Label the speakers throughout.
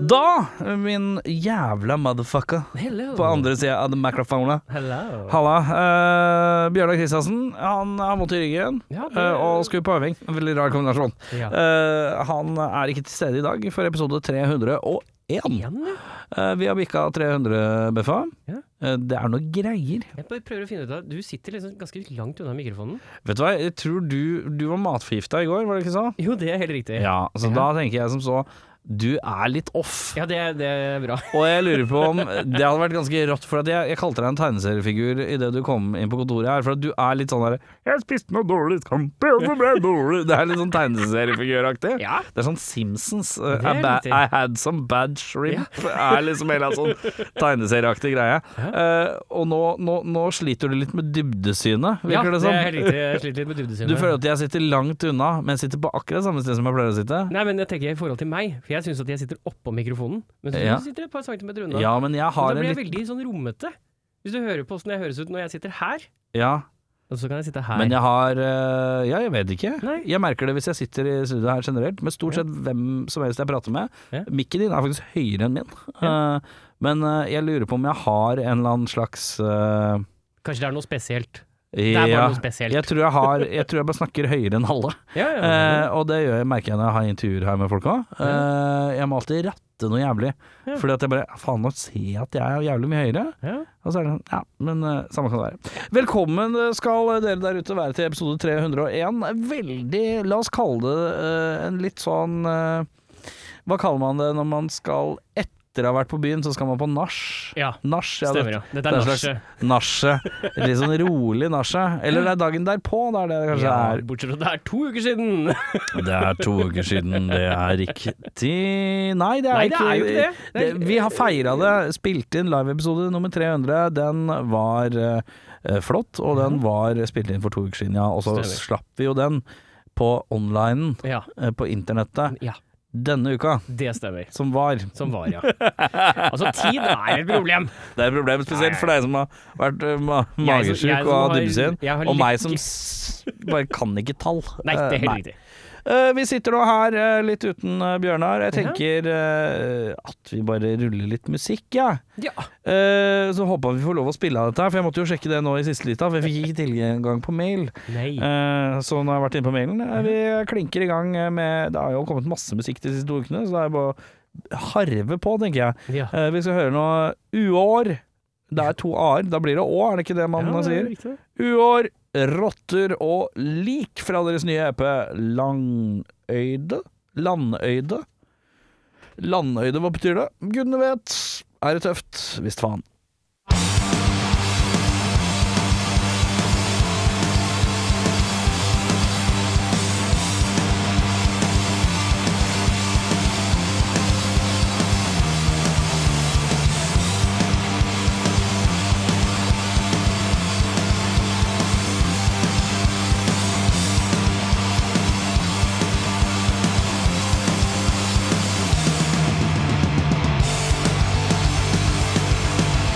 Speaker 1: da, min jævla motherfucker
Speaker 2: Hello.
Speaker 1: på andre sida av mikrofonen
Speaker 2: Hello.
Speaker 1: Halla. eh, Bjørnar Kristiansen han har vondt i ryggen
Speaker 2: Ja, det-
Speaker 1: eh, og skulle på øving. En veldig rar kombinasjon.
Speaker 2: Ja.
Speaker 1: Eh, han er ikke til stede i dag for episode 301.
Speaker 2: Igjen, ja.
Speaker 1: Eh, vi har bikka 300 bøffa.
Speaker 2: Ja.
Speaker 1: Eh, det er noe greier.
Speaker 2: Jeg bare prøver å finne ut av Du sitter liksom ganske langt unna mikrofonen.
Speaker 1: Vet du hva, jeg tror du, du var matforgifta i går, var det ikke så?
Speaker 2: Jo, det er helt riktig.
Speaker 1: Ja, så
Speaker 2: Ja.
Speaker 1: da tenker jeg som så Du er litt off.
Speaker 2: Ja, det, er- det er bra.
Speaker 1: Og jeg lurer på om det hadde vært ganske rått, for at jeg, jeg kalte deg en tegneseriefigur idet du kom inn på kontoret her, for at du er litt sånn derre 'Jeg spiste noe dårlig kampe, og så ble jeg dårlig' Det er litt sånn tegneseriefiguraktig.
Speaker 2: Ja.
Speaker 1: Det er sånn Simpsons. uh,
Speaker 2: Det er
Speaker 1: I, ba
Speaker 2: riktig.
Speaker 1: I had some bad shrimp. er liksom hele en sånn tegneserieaktig greie. Eh, og nå, nå, nå sliter du litt med dybdesynet,
Speaker 2: Ja,
Speaker 1: virker det
Speaker 2: det sånn?
Speaker 1: som.
Speaker 2: er helt riktig. Jeg sliter litt med dybdesynet.
Speaker 1: Du føler at jeg sitter langt unna, men jeg sitter på akkurat samme sted som jeg pleier å sitte?
Speaker 2: Nei, men jeg tenker i forhold til meg, for jeg syns at jeg sitter oppå mikrofonen. Men så
Speaker 1: Ja.
Speaker 2: du sitter et par centimeter unna.
Speaker 1: Ja, men jeg
Speaker 2: Men
Speaker 1: har
Speaker 2: da
Speaker 1: en
Speaker 2: blir jeg
Speaker 1: litt
Speaker 2: veldig sånn rommete. Hvis du hører på åssen jeg høres ut når jeg sitter her,
Speaker 1: Ja.
Speaker 2: og så kan jeg sitte her.
Speaker 1: Men jeg har eh, Ja, jeg vet ikke.
Speaker 2: Nei.
Speaker 1: Jeg merker det hvis jeg sitter i studio her generelt, med stort sett hvem som helst jeg prater med.
Speaker 2: Ja.
Speaker 1: Mikken din er faktisk høyere enn min. Eh, men eh, jeg lurer på om jeg har en eller annen slags eh,
Speaker 2: Kanskje det er noe spesielt. Det er bare
Speaker 1: ja,
Speaker 2: noe spesielt.
Speaker 1: Jeg tror jeg, har, jeg tror jeg bare snakker høyere enn alle.
Speaker 2: Ja, ja,
Speaker 1: Eh, og det gjør jeg, merker jeg når jeg har intervjuer her med folk òg. jeg må alltid ratte noe jævlig.
Speaker 2: Ja.
Speaker 1: Fordi at jeg bare Faen, nå ser jeg at jeg er jævlig mye høyere.
Speaker 2: ja.
Speaker 1: Og så er det sånn, ja, men eh, samme kan det være. Velkommen eh, skal dere der ute være til episode 301. Veldig, la oss kalle det eh, en litt sånn eh, Hva kaller man det når man skal etter å ha vært på byen, så skal man på nach?
Speaker 2: Ja,
Speaker 1: Nach, ja.
Speaker 2: Stemmer, ja. Dette
Speaker 1: det er
Speaker 2: er
Speaker 1: en
Speaker 2: nachet.
Speaker 1: det- Nachet. Litt sånn rolig nachet. Eller det er dagen derpå, det er det det kanskje
Speaker 2: Ja,
Speaker 1: er.
Speaker 2: bortsett fra det er to uker siden!
Speaker 1: Det er to uker siden, det er riktig Nei, det er,
Speaker 2: Nei, det
Speaker 1: ikke,
Speaker 2: er jo ikke det. Det er-
Speaker 1: Vi har feira det. Spilt inn liveepisode nummer 300. Den var eh, flott, og den var spilt inn for to uker siden, ja. Og så
Speaker 2: Mhm. Stemmer.
Speaker 1: slapp vi jo den på online,
Speaker 2: Ja.
Speaker 1: eh, på internettet,
Speaker 2: ja,
Speaker 1: denne uka.
Speaker 2: det stemmer.
Speaker 1: Som var.
Speaker 2: Som var, ja. Altså, tid er et problem.
Speaker 1: Det er et problem spesielt for deg som har vært eh, ma
Speaker 2: Jeg som- jeg
Speaker 1: magesjuk
Speaker 2: som
Speaker 1: og har
Speaker 2: har-
Speaker 1: dybsyn,
Speaker 2: jeg har
Speaker 1: og meg
Speaker 2: lykke-
Speaker 1: som s bare kan ikke tall.
Speaker 2: Nei, det
Speaker 1: Eh,
Speaker 2: er helt riktig.
Speaker 1: Eh, vi sitter nå her eh, litt uten eh, Bjørnar. Jeg tenker eh, at vi bare ruller litt musikk, Ja.
Speaker 2: Ja.
Speaker 1: Eh, så håper jeg vi får lov å spille av dette, her, for jeg måtte jo sjekke det nå i siste lita. For jeg fikk ikke tilgang på mail.
Speaker 2: Nei.
Speaker 1: Eh, så nå har jeg vært inne på mailen. Eh, vi klinker i gang eh, med Det har jo kommet masse musikk de siste to ukene, så det er bare å harve på, tenker jeg.
Speaker 2: Ja.
Speaker 1: Eh, vi skal høre noe uår. Det er to a-er. Da blir det å, er det ikke det man
Speaker 2: Ja, det er
Speaker 1: sier?
Speaker 2: riktig.
Speaker 1: Uår, rotter og lik fra deres nye EP Langøyde? Landøyde? Landøyde, hva betyr det? Gudene vet. Er det tøft? Visst faen.
Speaker 3: Thank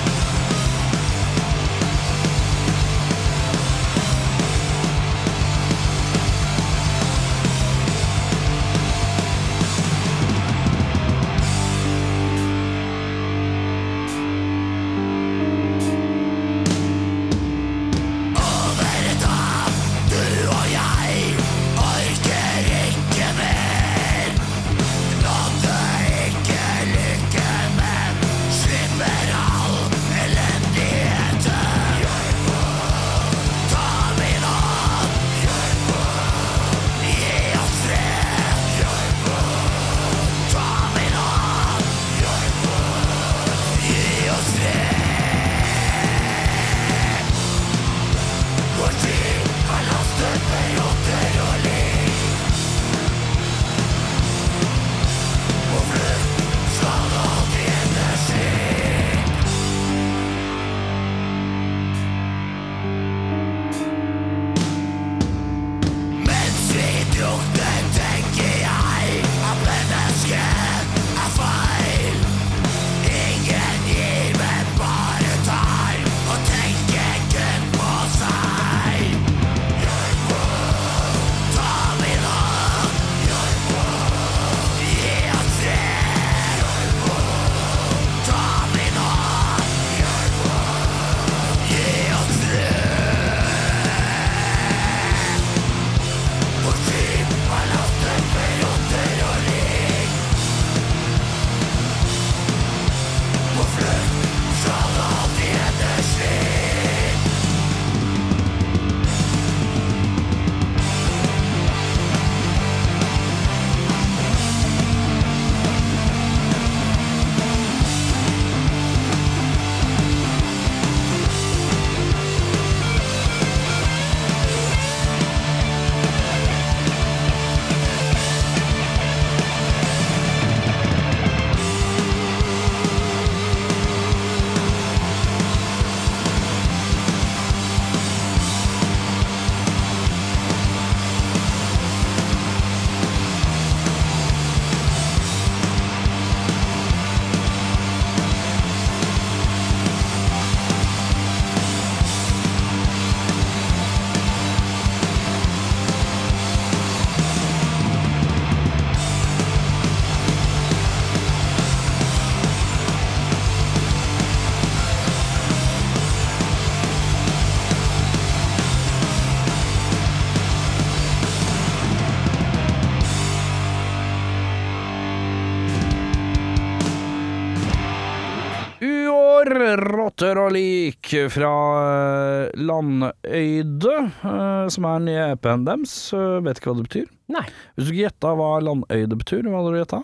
Speaker 1: for rotter og lik fra eh, Landøyde, eh, som er den nye EP-en deres. Eh, Vet ikke hva det betyr.
Speaker 2: Nei.
Speaker 1: Hvis du ikke gjetta hva Landøyde betyr, hva hadde du gjetta?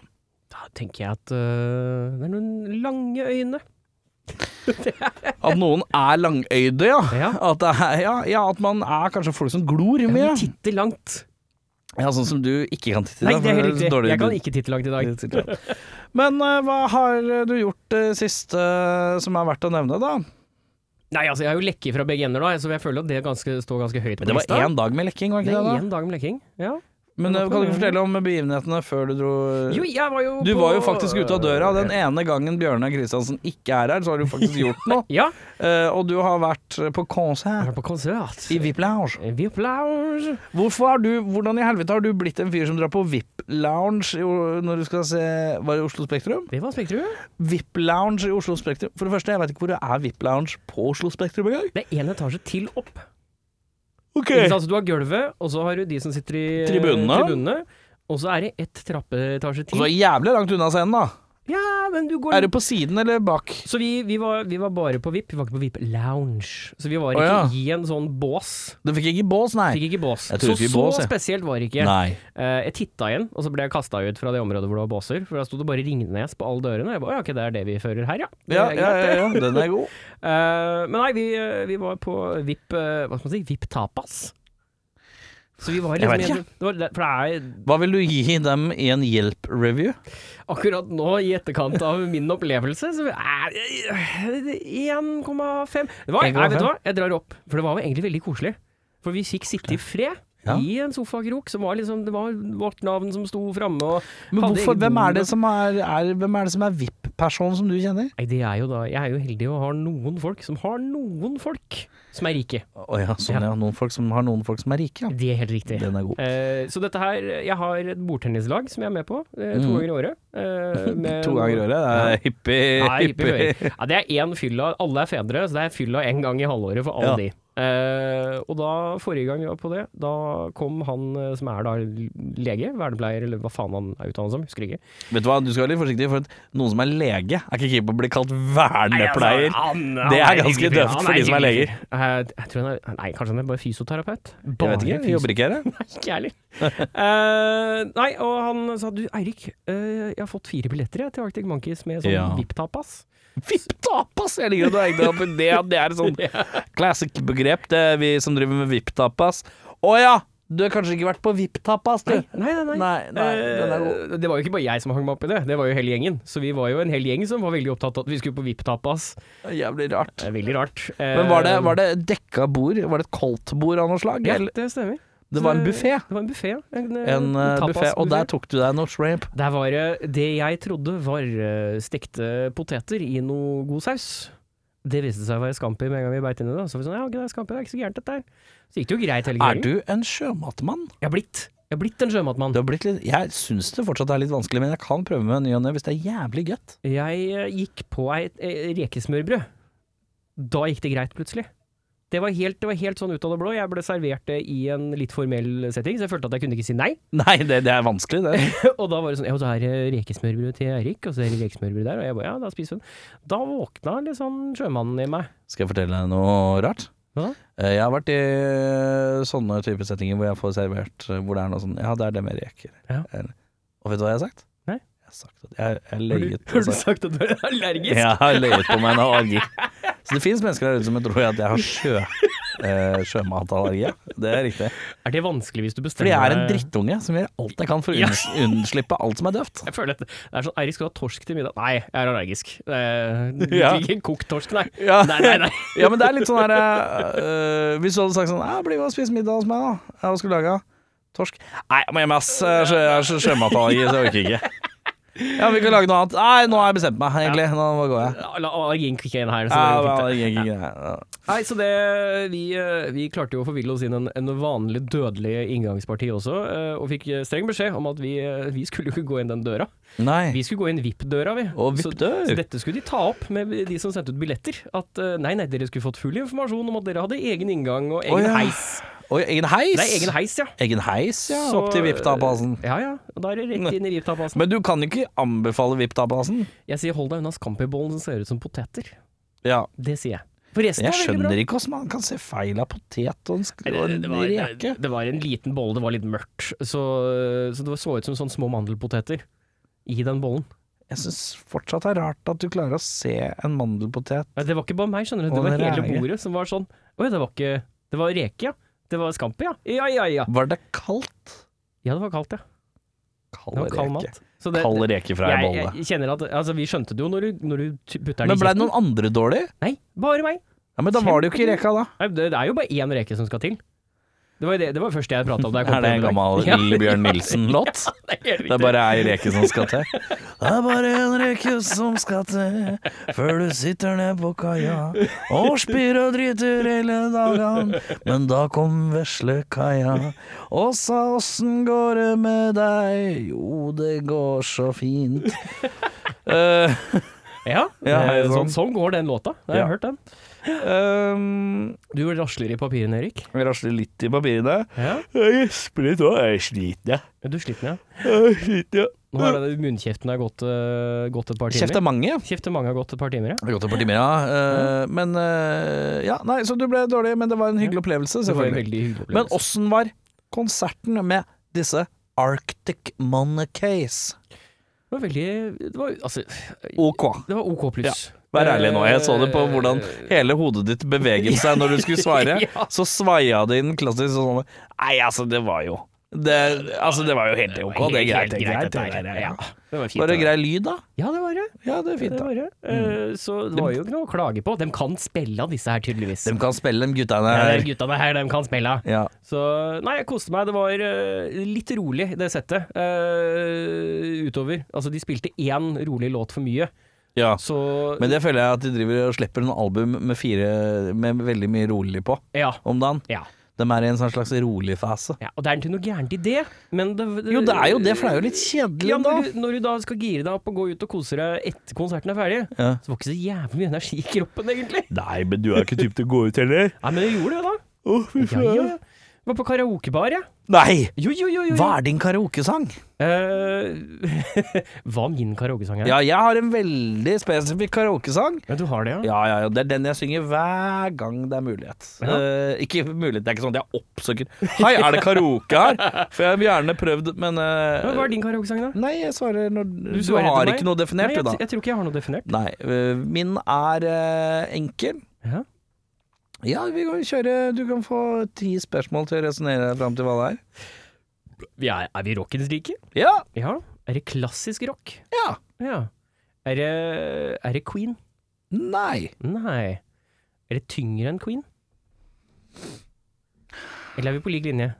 Speaker 2: Da tenker jeg at øh, det er noen lange øyne.
Speaker 1: At noen er langøyde, ja.
Speaker 2: Ja.
Speaker 1: At, det er, ja, ja, at man er kanskje folk som glor
Speaker 2: Jeg
Speaker 1: mye.
Speaker 2: må titte langt.
Speaker 1: Ja, sånn som du ikke kan titte i. da,
Speaker 2: Nei, det er
Speaker 1: for
Speaker 2: helt riktig.
Speaker 1: dårlig
Speaker 2: Jeg kan
Speaker 1: lyd.
Speaker 2: ikke titte langt i dag.
Speaker 1: Men eh, hva har du gjort det siste eh, som er verdt å nevne, da?
Speaker 2: Nei, altså, jeg har jo lekket fra begge ender, da, så jeg føler at det ganske, står ganske høyt på
Speaker 1: Det var én dag med lekking, var
Speaker 2: Det
Speaker 1: ikke det?
Speaker 2: er
Speaker 1: da?
Speaker 2: én dag med lekking. Ja.
Speaker 1: Men eh, Kan du ikke fortelle om begivenhetene før du dro
Speaker 2: Jo, jeg var jo
Speaker 1: Eh, Du
Speaker 2: på-
Speaker 1: var jo faktisk ute av døra. Den ene gangen Bjørnar Kristiansen ikke er her, så har du faktisk gjort noe.
Speaker 2: Ja,
Speaker 1: Eh, og du har vært eh, på
Speaker 2: jeg
Speaker 1: konsert
Speaker 2: var på konsert. Eh,
Speaker 1: i VIP Lounge.
Speaker 2: VIP Lounge.
Speaker 1: Hvorfor har du, hvordan i helvete har du blitt en fyr som drar på VIP Lounge i, O- når du skal se Var det Oslo Spektrum?
Speaker 2: Det var Spektrum.
Speaker 1: VIP Lounge i Oslo Spektrum. For det første, jeg vet ikke hvor det er VIP Lounge på Oslo Spektrum engang.
Speaker 2: Det er én etasje til opp.
Speaker 1: Okay.
Speaker 2: Ikke sant? Så du har gulvet, og så har du de som sitter i eh,
Speaker 1: Tribunene.
Speaker 2: tribunene. Og så er det ett trappeetasje
Speaker 1: Og så
Speaker 2: til.
Speaker 1: er det jævlig langt unna scenen, da.
Speaker 2: Ja, men du går
Speaker 1: Er det på siden eller bak?
Speaker 2: Så vi, vi, var, vi var bare på VIP, vi var ikke på VIP Lounge. Så vi var ikke
Speaker 1: Å, ja.
Speaker 2: i en sånn bås.
Speaker 1: Det fikk ikke bås, nei.
Speaker 2: Fikk ikke bås.
Speaker 1: Jeg
Speaker 2: Så
Speaker 1: tror ikke vi
Speaker 2: så
Speaker 1: bås, jeg.
Speaker 2: spesielt var det ikke.
Speaker 1: Nei.
Speaker 2: Eh, jeg titta igjen, og så ble jeg kasta ut fra det området hvor det var båser. For da sto det bare Ringnes på alle dørene. Jeg ba, «Å ja, ok, det er det vi fører her, ja. Det
Speaker 1: Ja, ja,
Speaker 2: er greit,
Speaker 1: ja,
Speaker 2: det».
Speaker 1: ja, den er god.
Speaker 2: Eh, men nei, vi, eh, vi var på VIP eh, Hva skal man si? VIP Tapas. Så vi var
Speaker 1: Jeg
Speaker 2: liksom
Speaker 1: vet
Speaker 2: i en- det var, det- For det er
Speaker 1: Hva vil du gi dem i en hjelp-review?
Speaker 2: akkurat nå, i etterkant av min opplevelse, så er det 1,5 Det var- Nei,
Speaker 1: 1,5.
Speaker 2: Vet du hva, jeg drar opp. For det var jo egentlig veldig koselig. For vi fikk sitte i fred.
Speaker 1: Ja.
Speaker 2: I en sofakrok som var liksom Det var vårt navn som sto framme og
Speaker 1: Men
Speaker 2: hadde
Speaker 1: hvorfor,
Speaker 2: eget
Speaker 1: hvem
Speaker 2: bord
Speaker 1: er det
Speaker 2: og-
Speaker 1: som er, er, hvem er, det som er VIP-personen som du kjenner?
Speaker 2: Nei, det er jo da Jeg er jo heldig og har noen folk som har noen folk som er rike.
Speaker 1: Å ja, sånn ja. Noen folk som har noen folk som er rike, ja.
Speaker 2: Det er helt riktig.
Speaker 1: Den er god.
Speaker 2: Eh, så dette her Jeg har et bordtennislag som jeg er med på eh, to
Speaker 1: Mm.
Speaker 2: ganger i året. eh, med-
Speaker 1: To ganger i året, det er hyppig.
Speaker 2: Nei, hippie
Speaker 1: hyppig.
Speaker 2: høyre. Ja, det er én fylla, alle er fedre, så det er fylla én gang i halvåret for alle
Speaker 1: Ja.
Speaker 2: de. Eh, og da, forrige gang vi var på det, da kom han eh, som er da lege, vernepleier, eller hva faen han er utdannet som, husker ikke.
Speaker 1: Vet du hva, du skal være litt forsiktig, for at noen som er lege, er ikke keen på å bli kalt
Speaker 2: Nei, altså,
Speaker 1: vernepleier.
Speaker 2: han- han
Speaker 1: Det er
Speaker 2: en
Speaker 1: ganske
Speaker 2: hyggelig fyr.
Speaker 1: døvt
Speaker 2: Han
Speaker 1: for de som er
Speaker 2: hyggelig
Speaker 1: leger.
Speaker 2: fyr. Eh, jeg tror han er, nei, kanskje han er bare fysioterapeut?
Speaker 1: Jeg vet ikke, jeg jobber ikke her, jeg.
Speaker 2: Ikke ærlig. Eh, nei, og han sa du Eirik, eh, jeg har fått fire billetter jeg, til Arctic Monkeys med sånn
Speaker 1: Ja.
Speaker 2: VIP-tapas.
Speaker 1: VIP-tapas! Jeg liker at du har hengt deg opp i det. Det er et sånn classic begrep, det er vi som driver med VIP-tapas. Å ja! Du har kanskje ikke vært på VIP-tapas, du?
Speaker 2: Nei, nei, nei.
Speaker 1: Nei, nei, den er
Speaker 2: Eh, Det var jo ikke bare jeg som hang meg opp i det, det var jo hele gjengen. Så vi var jo en hel gjeng som var veldig opptatt av at vi skulle på Eh, VIP-tapas.
Speaker 1: Jævlig rart.
Speaker 2: Det er Veldig rart.
Speaker 1: Men var det, var det dekka bord? Var det et koldtbord av noe slag?
Speaker 2: Ja,
Speaker 1: Eller?
Speaker 2: det stemmer.
Speaker 1: Det var en
Speaker 2: Så-
Speaker 1: buffé.
Speaker 2: Det var en buffé. En, eh,
Speaker 1: En uh, buffé, og
Speaker 2: tapasbuffé.
Speaker 1: der tok du deg noe shrimp.
Speaker 2: Der var det det jeg trodde var eh, stekte poteter i noe god saus. Det viste seg å være scampi med en gang vi beit inn i det. Så vi sånn, ja, ok, det er scampi, det er ikke så gærent dette her. Så gikk det jo greit
Speaker 1: Er
Speaker 2: hele kvelden.
Speaker 1: du en sjømatmann?
Speaker 2: Jeg har blitt, jeg har blitt en sjømatmann.
Speaker 1: Du har blitt litt, jeg syns det fortsatt er litt vanskelig, men jeg kan prøve med ny og ne hvis det er jævlig godt.
Speaker 2: Jeg eh, gikk på ei eh, rekesmørbrød. Da gikk det greit, plutselig. Det var, helt, det var helt sånn ut av det blå. Jeg ble servert det i en litt formell setting, så jeg følte at jeg kunne ikke si nei.
Speaker 1: Nei, det, det er vanskelig, det.
Speaker 2: Og da var det sånn Ja, det er eh, rekesmørbrød til Eirik, og så er det rekesmørbrød der, og jeg bare ja, da spiser vi den. Da våkna litt sånn sjømannen i meg.
Speaker 1: Skal jeg fortelle deg noe rart?
Speaker 2: Hva da?
Speaker 1: Eh, Jeg har vært i sånne type settinger hvor jeg får servert eh, Hvor det er noe sånn Ja, det er det med reker.
Speaker 2: Ja.
Speaker 1: Eller- Og vet du hva jeg har sagt?
Speaker 2: Nei.
Speaker 1: Jeg har sagt at jeg, jeg
Speaker 2: Har du,
Speaker 1: løyet
Speaker 2: har du
Speaker 1: altså.
Speaker 2: sagt at du er allergisk?
Speaker 1: Jeg har løyet på meg en allergi. Så det fins mennesker der ute som tror at jeg har sjø, eh, sjømatallergi. Det er riktig.
Speaker 2: Er det vanskelig hvis du
Speaker 1: Fordi
Speaker 2: bestemmer
Speaker 1: jeg er en
Speaker 2: deg-
Speaker 1: drittunge som gjør alt jeg kan for å
Speaker 2: Ja.
Speaker 1: unns unnslippe alt som er døvt.
Speaker 2: Jeg føler at det er sånn Eirik skal du ha torsk til middag. Nei, jeg er allergisk. Eh, Du
Speaker 1: Ja.
Speaker 2: liker ikke kokt torsk, nei.
Speaker 1: Ja.
Speaker 2: Nei, nei, nei.
Speaker 1: Ja, men det er litt sånn her eh, eh, Hvis du hadde sagt sånn «Ja, 'Bli med og spis middag hos meg, da'. Ja, Hva skal du lage? da? Torsk? Nei, jeg må hjem, ass. Jeg er sjø- jeg er sjø- sjømatallergi, så jeg orker ikke. Ja, Vi kan lage noe annet. Nei, nå har jeg bestemt meg, egentlig. Nå bare går jeg.
Speaker 2: La allergien kicke inn her. Så
Speaker 1: Ja,
Speaker 2: det er fint, det.
Speaker 1: det er ikke greit.
Speaker 2: Nei, så det Vi, eh, vi klarte jo å forville oss inn en, en vanlig dødelig inngangsparti også, eh, og fikk eh, streng beskjed om at vi, eh, vi skulle jo ikke gå inn den døra.
Speaker 1: Nei.
Speaker 2: Vi skulle gå inn VIP-døra, vi.
Speaker 1: Og
Speaker 2: Så-
Speaker 1: vippdør.
Speaker 2: Så dette skulle de ta opp med de som sendte ut billetter. At eh, nei, nei, dere skulle fått full informasjon om at dere hadde egen inngang og egen
Speaker 1: Å, ja.
Speaker 2: heis.
Speaker 1: Oi, egen heis.
Speaker 2: Det er egen heis, ja.
Speaker 1: Egen heis, ja.
Speaker 2: Så-
Speaker 1: Opp til VIP-tapasen.
Speaker 2: Ja ja, og da er det rett inn i VIP-tapasen.
Speaker 1: Men du kan jo ikke anbefale VIP-tapasen.
Speaker 2: Jeg sier hold deg unna scampibollen som ser ut som poteter.
Speaker 1: Ja.
Speaker 2: Det sier jeg. For resten
Speaker 1: Jeg
Speaker 2: var veldig bra.
Speaker 1: skjønner ikke hvordan man kan se feil av potet og en, sk-
Speaker 2: Nei,
Speaker 1: og
Speaker 2: det,
Speaker 1: en
Speaker 2: det, var,
Speaker 1: reke.
Speaker 2: det, det var en liten bolle, det var litt mørkt. Så, så det så ut som sånne små mandelpoteter i den bollen.
Speaker 1: Jeg syns fortsatt det er rart at du klarer å se en mandelpotet.
Speaker 2: Nei, Det var ikke bare meg, skjønner du.
Speaker 1: Og
Speaker 2: Det var
Speaker 1: en
Speaker 2: hele
Speaker 1: rege.
Speaker 2: bordet som var sånn Oi, det var ikke Det var reke, ja. Det var scampi, ja. Ja, ja, ja.
Speaker 1: Var det kaldt?
Speaker 2: Ja, det var kaldt, ja.
Speaker 1: Kald
Speaker 2: Det var kald mat. Så det,
Speaker 1: Kald reke fra ei
Speaker 2: jeg,
Speaker 1: bolle.
Speaker 2: jeg kjenner at Altså, vi skjønte det jo når du, når du t- putter den
Speaker 1: Men blei det noen andre dårlig?
Speaker 2: Nei, bare meg.
Speaker 1: Ja, men da var det jo ikke i reka, da.
Speaker 2: Nei, det, det er jo bare én reke som skal til. Det var jo det, det var det første jeg prata om da jeg kom
Speaker 1: Er det en gammel
Speaker 2: Ja,
Speaker 1: Lillebjørn Nilsen-låt?
Speaker 2: det er helt
Speaker 1: Det er
Speaker 2: riktig.
Speaker 1: bare ei reke som skal til. Det er bare en reke som skal til, før du sitter ned på kaia og spyr og driter hele dagen. Men da kom vesle kaia og sa åssen går det med deg? Jo, det går så fint. Eh,
Speaker 2: Ja,
Speaker 1: Ja,
Speaker 2: det er
Speaker 1: sånn.
Speaker 2: sånn, sånn går den låta. Jeg har
Speaker 1: Ja.
Speaker 2: hørt den.
Speaker 1: ehm,
Speaker 2: Du rasler i papirene, Erik.
Speaker 1: Vi rasler litt i papirene.
Speaker 2: Ja.
Speaker 1: Jeg gjesper litt òg. Jeg er sliten, jeg.
Speaker 2: Du er sliten, ja.
Speaker 1: Jeg er sliten, jeg.
Speaker 2: Nå er det munnkjeften har gått, øh, gått et par
Speaker 1: Mm. Kjeft
Speaker 2: timer.
Speaker 1: er mange.
Speaker 2: Kjeften mange har gått et par timer, ja.
Speaker 1: Det har gått et par timer, ja. Eh, Men eh, Ja, nei, så du ble dårlig, men det var en hyggelig opplevelse,
Speaker 2: Det var en
Speaker 1: selvfølgelig.
Speaker 2: veldig hyggelig
Speaker 1: Men
Speaker 2: opplevelse.
Speaker 1: åssen var konserten med disse Arctic Monarchies?
Speaker 2: Det var veldig Det var, altså,
Speaker 1: OK.
Speaker 2: det var OK pluss. Eh,
Speaker 1: Vær ærlig nå, jeg så det på hvordan hele hodet ditt beveget seg når du skulle svare.
Speaker 2: Ja.
Speaker 1: Så svaia det inn klassisk sånn Nei, altså, det var jo det, altså, det var jo helt OK, det er greit. Det er greit, det er greit.
Speaker 2: ja.
Speaker 1: ja.
Speaker 2: Det var fint.
Speaker 1: Var det
Speaker 2: det
Speaker 1: grei lyd, da?
Speaker 2: Ja, det var det.
Speaker 1: Ja, det er fint,
Speaker 2: det
Speaker 1: da. Mm.
Speaker 2: var det. Eh, Så det var jo ikke noe å klage på. De kan spille, disse her, tydeligvis.
Speaker 1: De kan spille, de guttene
Speaker 2: Ja,
Speaker 1: her.
Speaker 2: de guttene her, de kan spille.
Speaker 1: Ja.
Speaker 2: Så nei, jeg koste meg. Det var eh, litt rolig, det settet. eh, utover. Altså, de spilte én rolig låt for mye,
Speaker 1: ja.
Speaker 2: så
Speaker 1: Men det føler jeg at de driver og slipper en album med fire Med veldig mye rolig på
Speaker 2: ja,
Speaker 1: om dagen.
Speaker 2: ja,
Speaker 1: De er i en sånn slags rolig fase.
Speaker 2: ja. Og det er ikke noe gærent i det, men det,
Speaker 1: Jo, det er jo det, for det er jo litt kjedelig
Speaker 2: ja,
Speaker 1: da.
Speaker 2: når, du, når du da skal gire deg opp og gå ut og kose deg etter konserten er ferdig,
Speaker 1: Ja.
Speaker 2: så var det ikke så jævlig mye energi i kroppen, egentlig.
Speaker 1: Nei, men du er ikke typ til å gå ut heller.
Speaker 2: Nei, men jeg gjorde det, da.
Speaker 1: Å, fy
Speaker 2: Ja, ja. ja. Var på karaokebar, jeg.
Speaker 1: Nei!
Speaker 2: Jo, jo, jo. jo.
Speaker 1: Hva er din karaokesang?
Speaker 2: Eh, hva min karaokesang er?
Speaker 1: Ja, jeg har en veldig spesifikk karaokesang.
Speaker 2: Men du har det, ja?
Speaker 1: Ja, ja, ja, Det er den jeg synger hver gang det er mulighet.
Speaker 2: Ja.
Speaker 1: Eh, ikke mulighet, det er ikke sånn at jeg oppsøker Hei, er det karaoke her? For jeg har gjerne prøvd, men eh,
Speaker 2: Men Hva er din karaokesang, da?
Speaker 1: Nei, jeg svarer når Du,
Speaker 2: svarer til
Speaker 1: har
Speaker 2: meg.
Speaker 1: ikke noe definert,
Speaker 2: Nei, jeg,
Speaker 1: du, da.
Speaker 2: Jeg tror ikke jeg har noe definert.
Speaker 1: Nei, øh, min er øh, enkel.
Speaker 2: Ja.
Speaker 1: Ja, vi kan kjøre Du kan få ti spørsmål til å resonnere fram til hva det er.
Speaker 2: Vi er, er vi rockens rike?
Speaker 1: Ja!
Speaker 2: Ja. Er det klassisk rock?
Speaker 1: Ja!
Speaker 2: Ja. Er det, er det Queen?
Speaker 1: Nei.
Speaker 2: Nei. Er det tyngre enn Queen? Eller er vi på lik linje?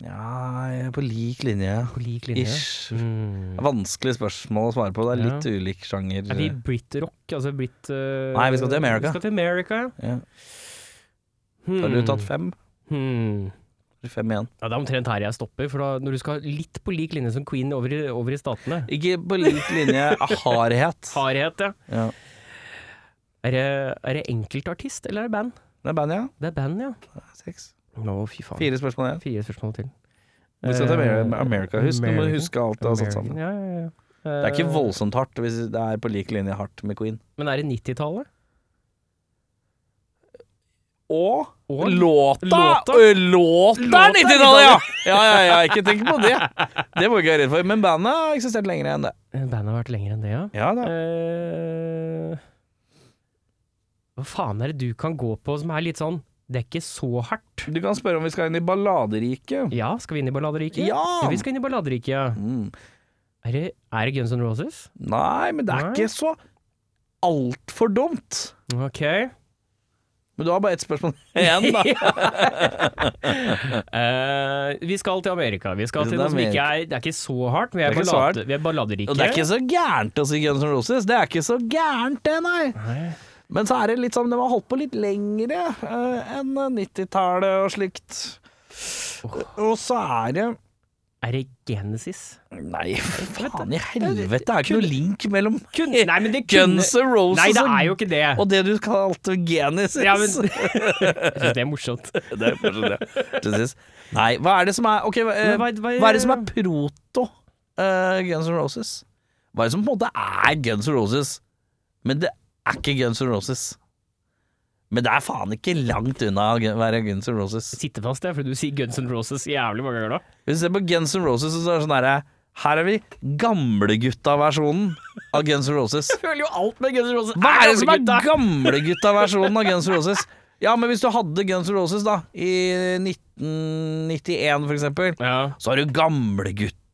Speaker 1: Ja, jeg er på lik linje.
Speaker 2: På lik linje.
Speaker 1: Ish.
Speaker 2: Mm.
Speaker 1: Vanskelig spørsmål å svare på. Det er
Speaker 2: Ja.
Speaker 1: litt ulik sjanger.
Speaker 2: Er vi britrock? Altså brit... eh,
Speaker 1: Nei, vi skal til America.
Speaker 2: Vi skal til America, ja.
Speaker 1: Ja.
Speaker 2: Hmm.
Speaker 1: Har du tatt fem?
Speaker 2: Hmm.
Speaker 1: Fem igjen.
Speaker 2: Ja, det er omtrent her jeg stopper, for da, når du skal litt på lik linje som Queen over i, over i statene
Speaker 1: Ikke på lik linje hardhet.
Speaker 2: Hardhet, ja.
Speaker 1: Ja.
Speaker 2: Er det, er det enkeltartist, eller er det band?
Speaker 1: Det er band, ja.
Speaker 2: Det er band, ja.
Speaker 1: Seks.
Speaker 2: Å, fy faen.
Speaker 1: Fire spørsmål igjen.
Speaker 2: Fire spørsmål til.
Speaker 1: Vi skal til Amer-
Speaker 2: Eh,
Speaker 1: America. Husk, nå må du
Speaker 2: American.
Speaker 1: huske alt det har satt sammen.
Speaker 2: Ja, ja, ja.
Speaker 1: Det er ikke
Speaker 2: Eh,
Speaker 1: voldsomt hardt hvis det er på lik linje hardt med Queen.
Speaker 2: Men er det 90-tallet?
Speaker 1: Og
Speaker 2: Og
Speaker 1: Låta!
Speaker 2: Låta?
Speaker 1: Ø, Låta er
Speaker 2: Låta er
Speaker 1: 90-tallet, ja! Ja, ja, ja, ikke tenk på det. Det må vi ikke være redd for. Men bandet har eksistert lenger enn det.
Speaker 2: Eh, Bandet har vært lenger enn det, ja.
Speaker 1: Ja da.
Speaker 2: Eh, hva faen er det du kan gå på som er litt sånn Det er ikke så hardt.
Speaker 1: Du kan spørre om vi skal inn i balladeriket.
Speaker 2: Ja, skal vi inn i balladeriket?
Speaker 1: Ja!
Speaker 2: vi skal inn i balladeriket, ja.
Speaker 1: Mm.
Speaker 2: Er det, er det Guns N' Roses?
Speaker 1: Nei, men det er
Speaker 2: Nei.
Speaker 1: ikke så altfor dumt.
Speaker 2: Ok.
Speaker 1: Men du har bare ett spørsmål igjen, da.
Speaker 2: Eh, vi skal til Amerika. Vi skal
Speaker 1: Det
Speaker 2: til
Speaker 1: er
Speaker 2: noe som ikke er Det er ikke så hardt, men vi
Speaker 1: Det
Speaker 2: er,
Speaker 1: er ikke så
Speaker 2: ballade, vi er balladeriket.
Speaker 1: Og det er ikke så gærent å si Guns N' Roses. Det er ikke så gærent, det, nei.
Speaker 2: Nei.
Speaker 1: Men så er det litt sånn, de har holdt på litt lengre eh, enn 90-tallet og slikt. Og så er det
Speaker 2: Er det Genesis?
Speaker 1: Nei, faen i helvete. Det er ikke noe link mellom
Speaker 2: Kun, nei, men det
Speaker 1: Eh,
Speaker 2: kunne
Speaker 1: Guns N' Roses
Speaker 2: Nei, det
Speaker 1: og-
Speaker 2: er jo ikke det.
Speaker 1: og det du kalte Genesis.
Speaker 2: Ja, men, jeg synes det er morsomt.
Speaker 1: det er kanskje det. Genesis. Nei, hva er det som er Ok, hva, eh,
Speaker 2: Men hva- hva-
Speaker 1: hva er det som er proto eh, Guns N' Roses? Hva er det som på en måte er Guns N' Roses, men det er ikke Guns N' Roses. Men det er faen ikke langt unna å gu- være Guns N' Roses.
Speaker 2: Sitte fast, jeg, for du sier Guns N' Roses jævlig mange ganger da.
Speaker 1: Hvis du ser på Guns N' Roses, så er det sånn herre Her er vi gamlegutta-versjonen av Guns N' Roses.
Speaker 2: Føler jo alt med Guns N' Roses.
Speaker 1: Hva er det som er
Speaker 2: gamlegutta?
Speaker 1: gamlegutta-versjonen av Guns N' Roses? Ja, men hvis du hadde Guns N' Roses da, i 1991 for eksempel,
Speaker 2: Ja.
Speaker 1: så har du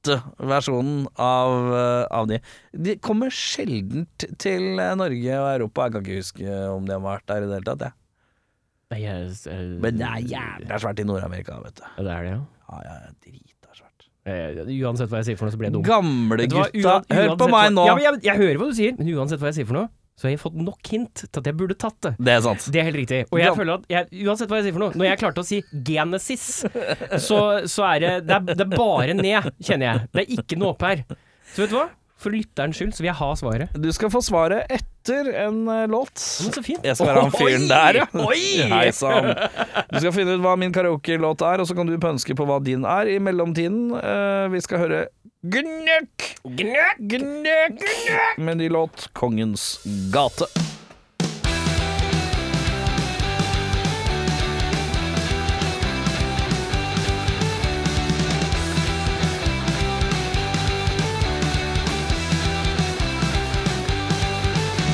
Speaker 1: gamlegutta-versjonen av, eh, av de. De kommer sjelden t- til eh, Norge og Europa. Jeg kan ikke huske om de har vært der i det hele tatt, jeg.
Speaker 2: Nei, jeg, jeg-
Speaker 1: Men det er jævla svært i Nord-Amerika, vet du.
Speaker 2: Ja, Det er det, ja.
Speaker 1: Ja, ja, ja, drita svært.
Speaker 2: Eh, Uansett hva jeg sier for noe, så blir jeg dum. Vet du hva,
Speaker 1: Gamlegutta
Speaker 2: uan-
Speaker 1: Hør på
Speaker 2: uansett
Speaker 1: meg
Speaker 2: hva-
Speaker 1: nå!
Speaker 2: Ja, men jeg, jeg hører hva du sier, men uansett hva jeg sier for noe, så har jeg fått nok hint til at jeg burde tatt det.
Speaker 1: Det er sant.
Speaker 2: Det er helt riktig. Og jeg
Speaker 1: Gam-
Speaker 2: føler at jeg, uansett hva jeg sier for noe, når jeg klarte å si Genesis, så, så er det det er, det er bare ned, kjenner jeg. Det er ikke noe opp her. Så vet du hva? For lytterens skyld så vil jeg ha svaret.
Speaker 1: Du skal få svaret etter en eh, låt.
Speaker 2: Men så fint.
Speaker 1: Jeg skal være han fyren der, ja.
Speaker 2: Oi!
Speaker 1: Hei sann. Du skal finne ut hva min karaoke-låt er, og så kan du pønske på hva din er i mellomtiden. Eh, vi skal høre Gnøkk,
Speaker 2: Gnøkk!
Speaker 1: gnøkk, gnøkk med ny låt Kongens gate.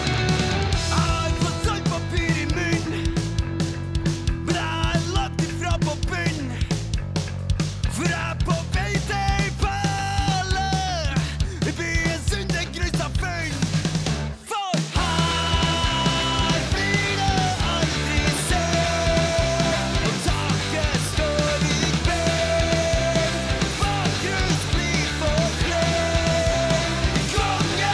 Speaker 3: Jeg har saltpapir i munnen, men jeg har lagt det fra på bunnen. For jeg er på vei til ei perle i byen Sundekrysset funn. For her blir det aldri søvn, og taket står i bønn. Bakhus blir forkledd i Kongens gate.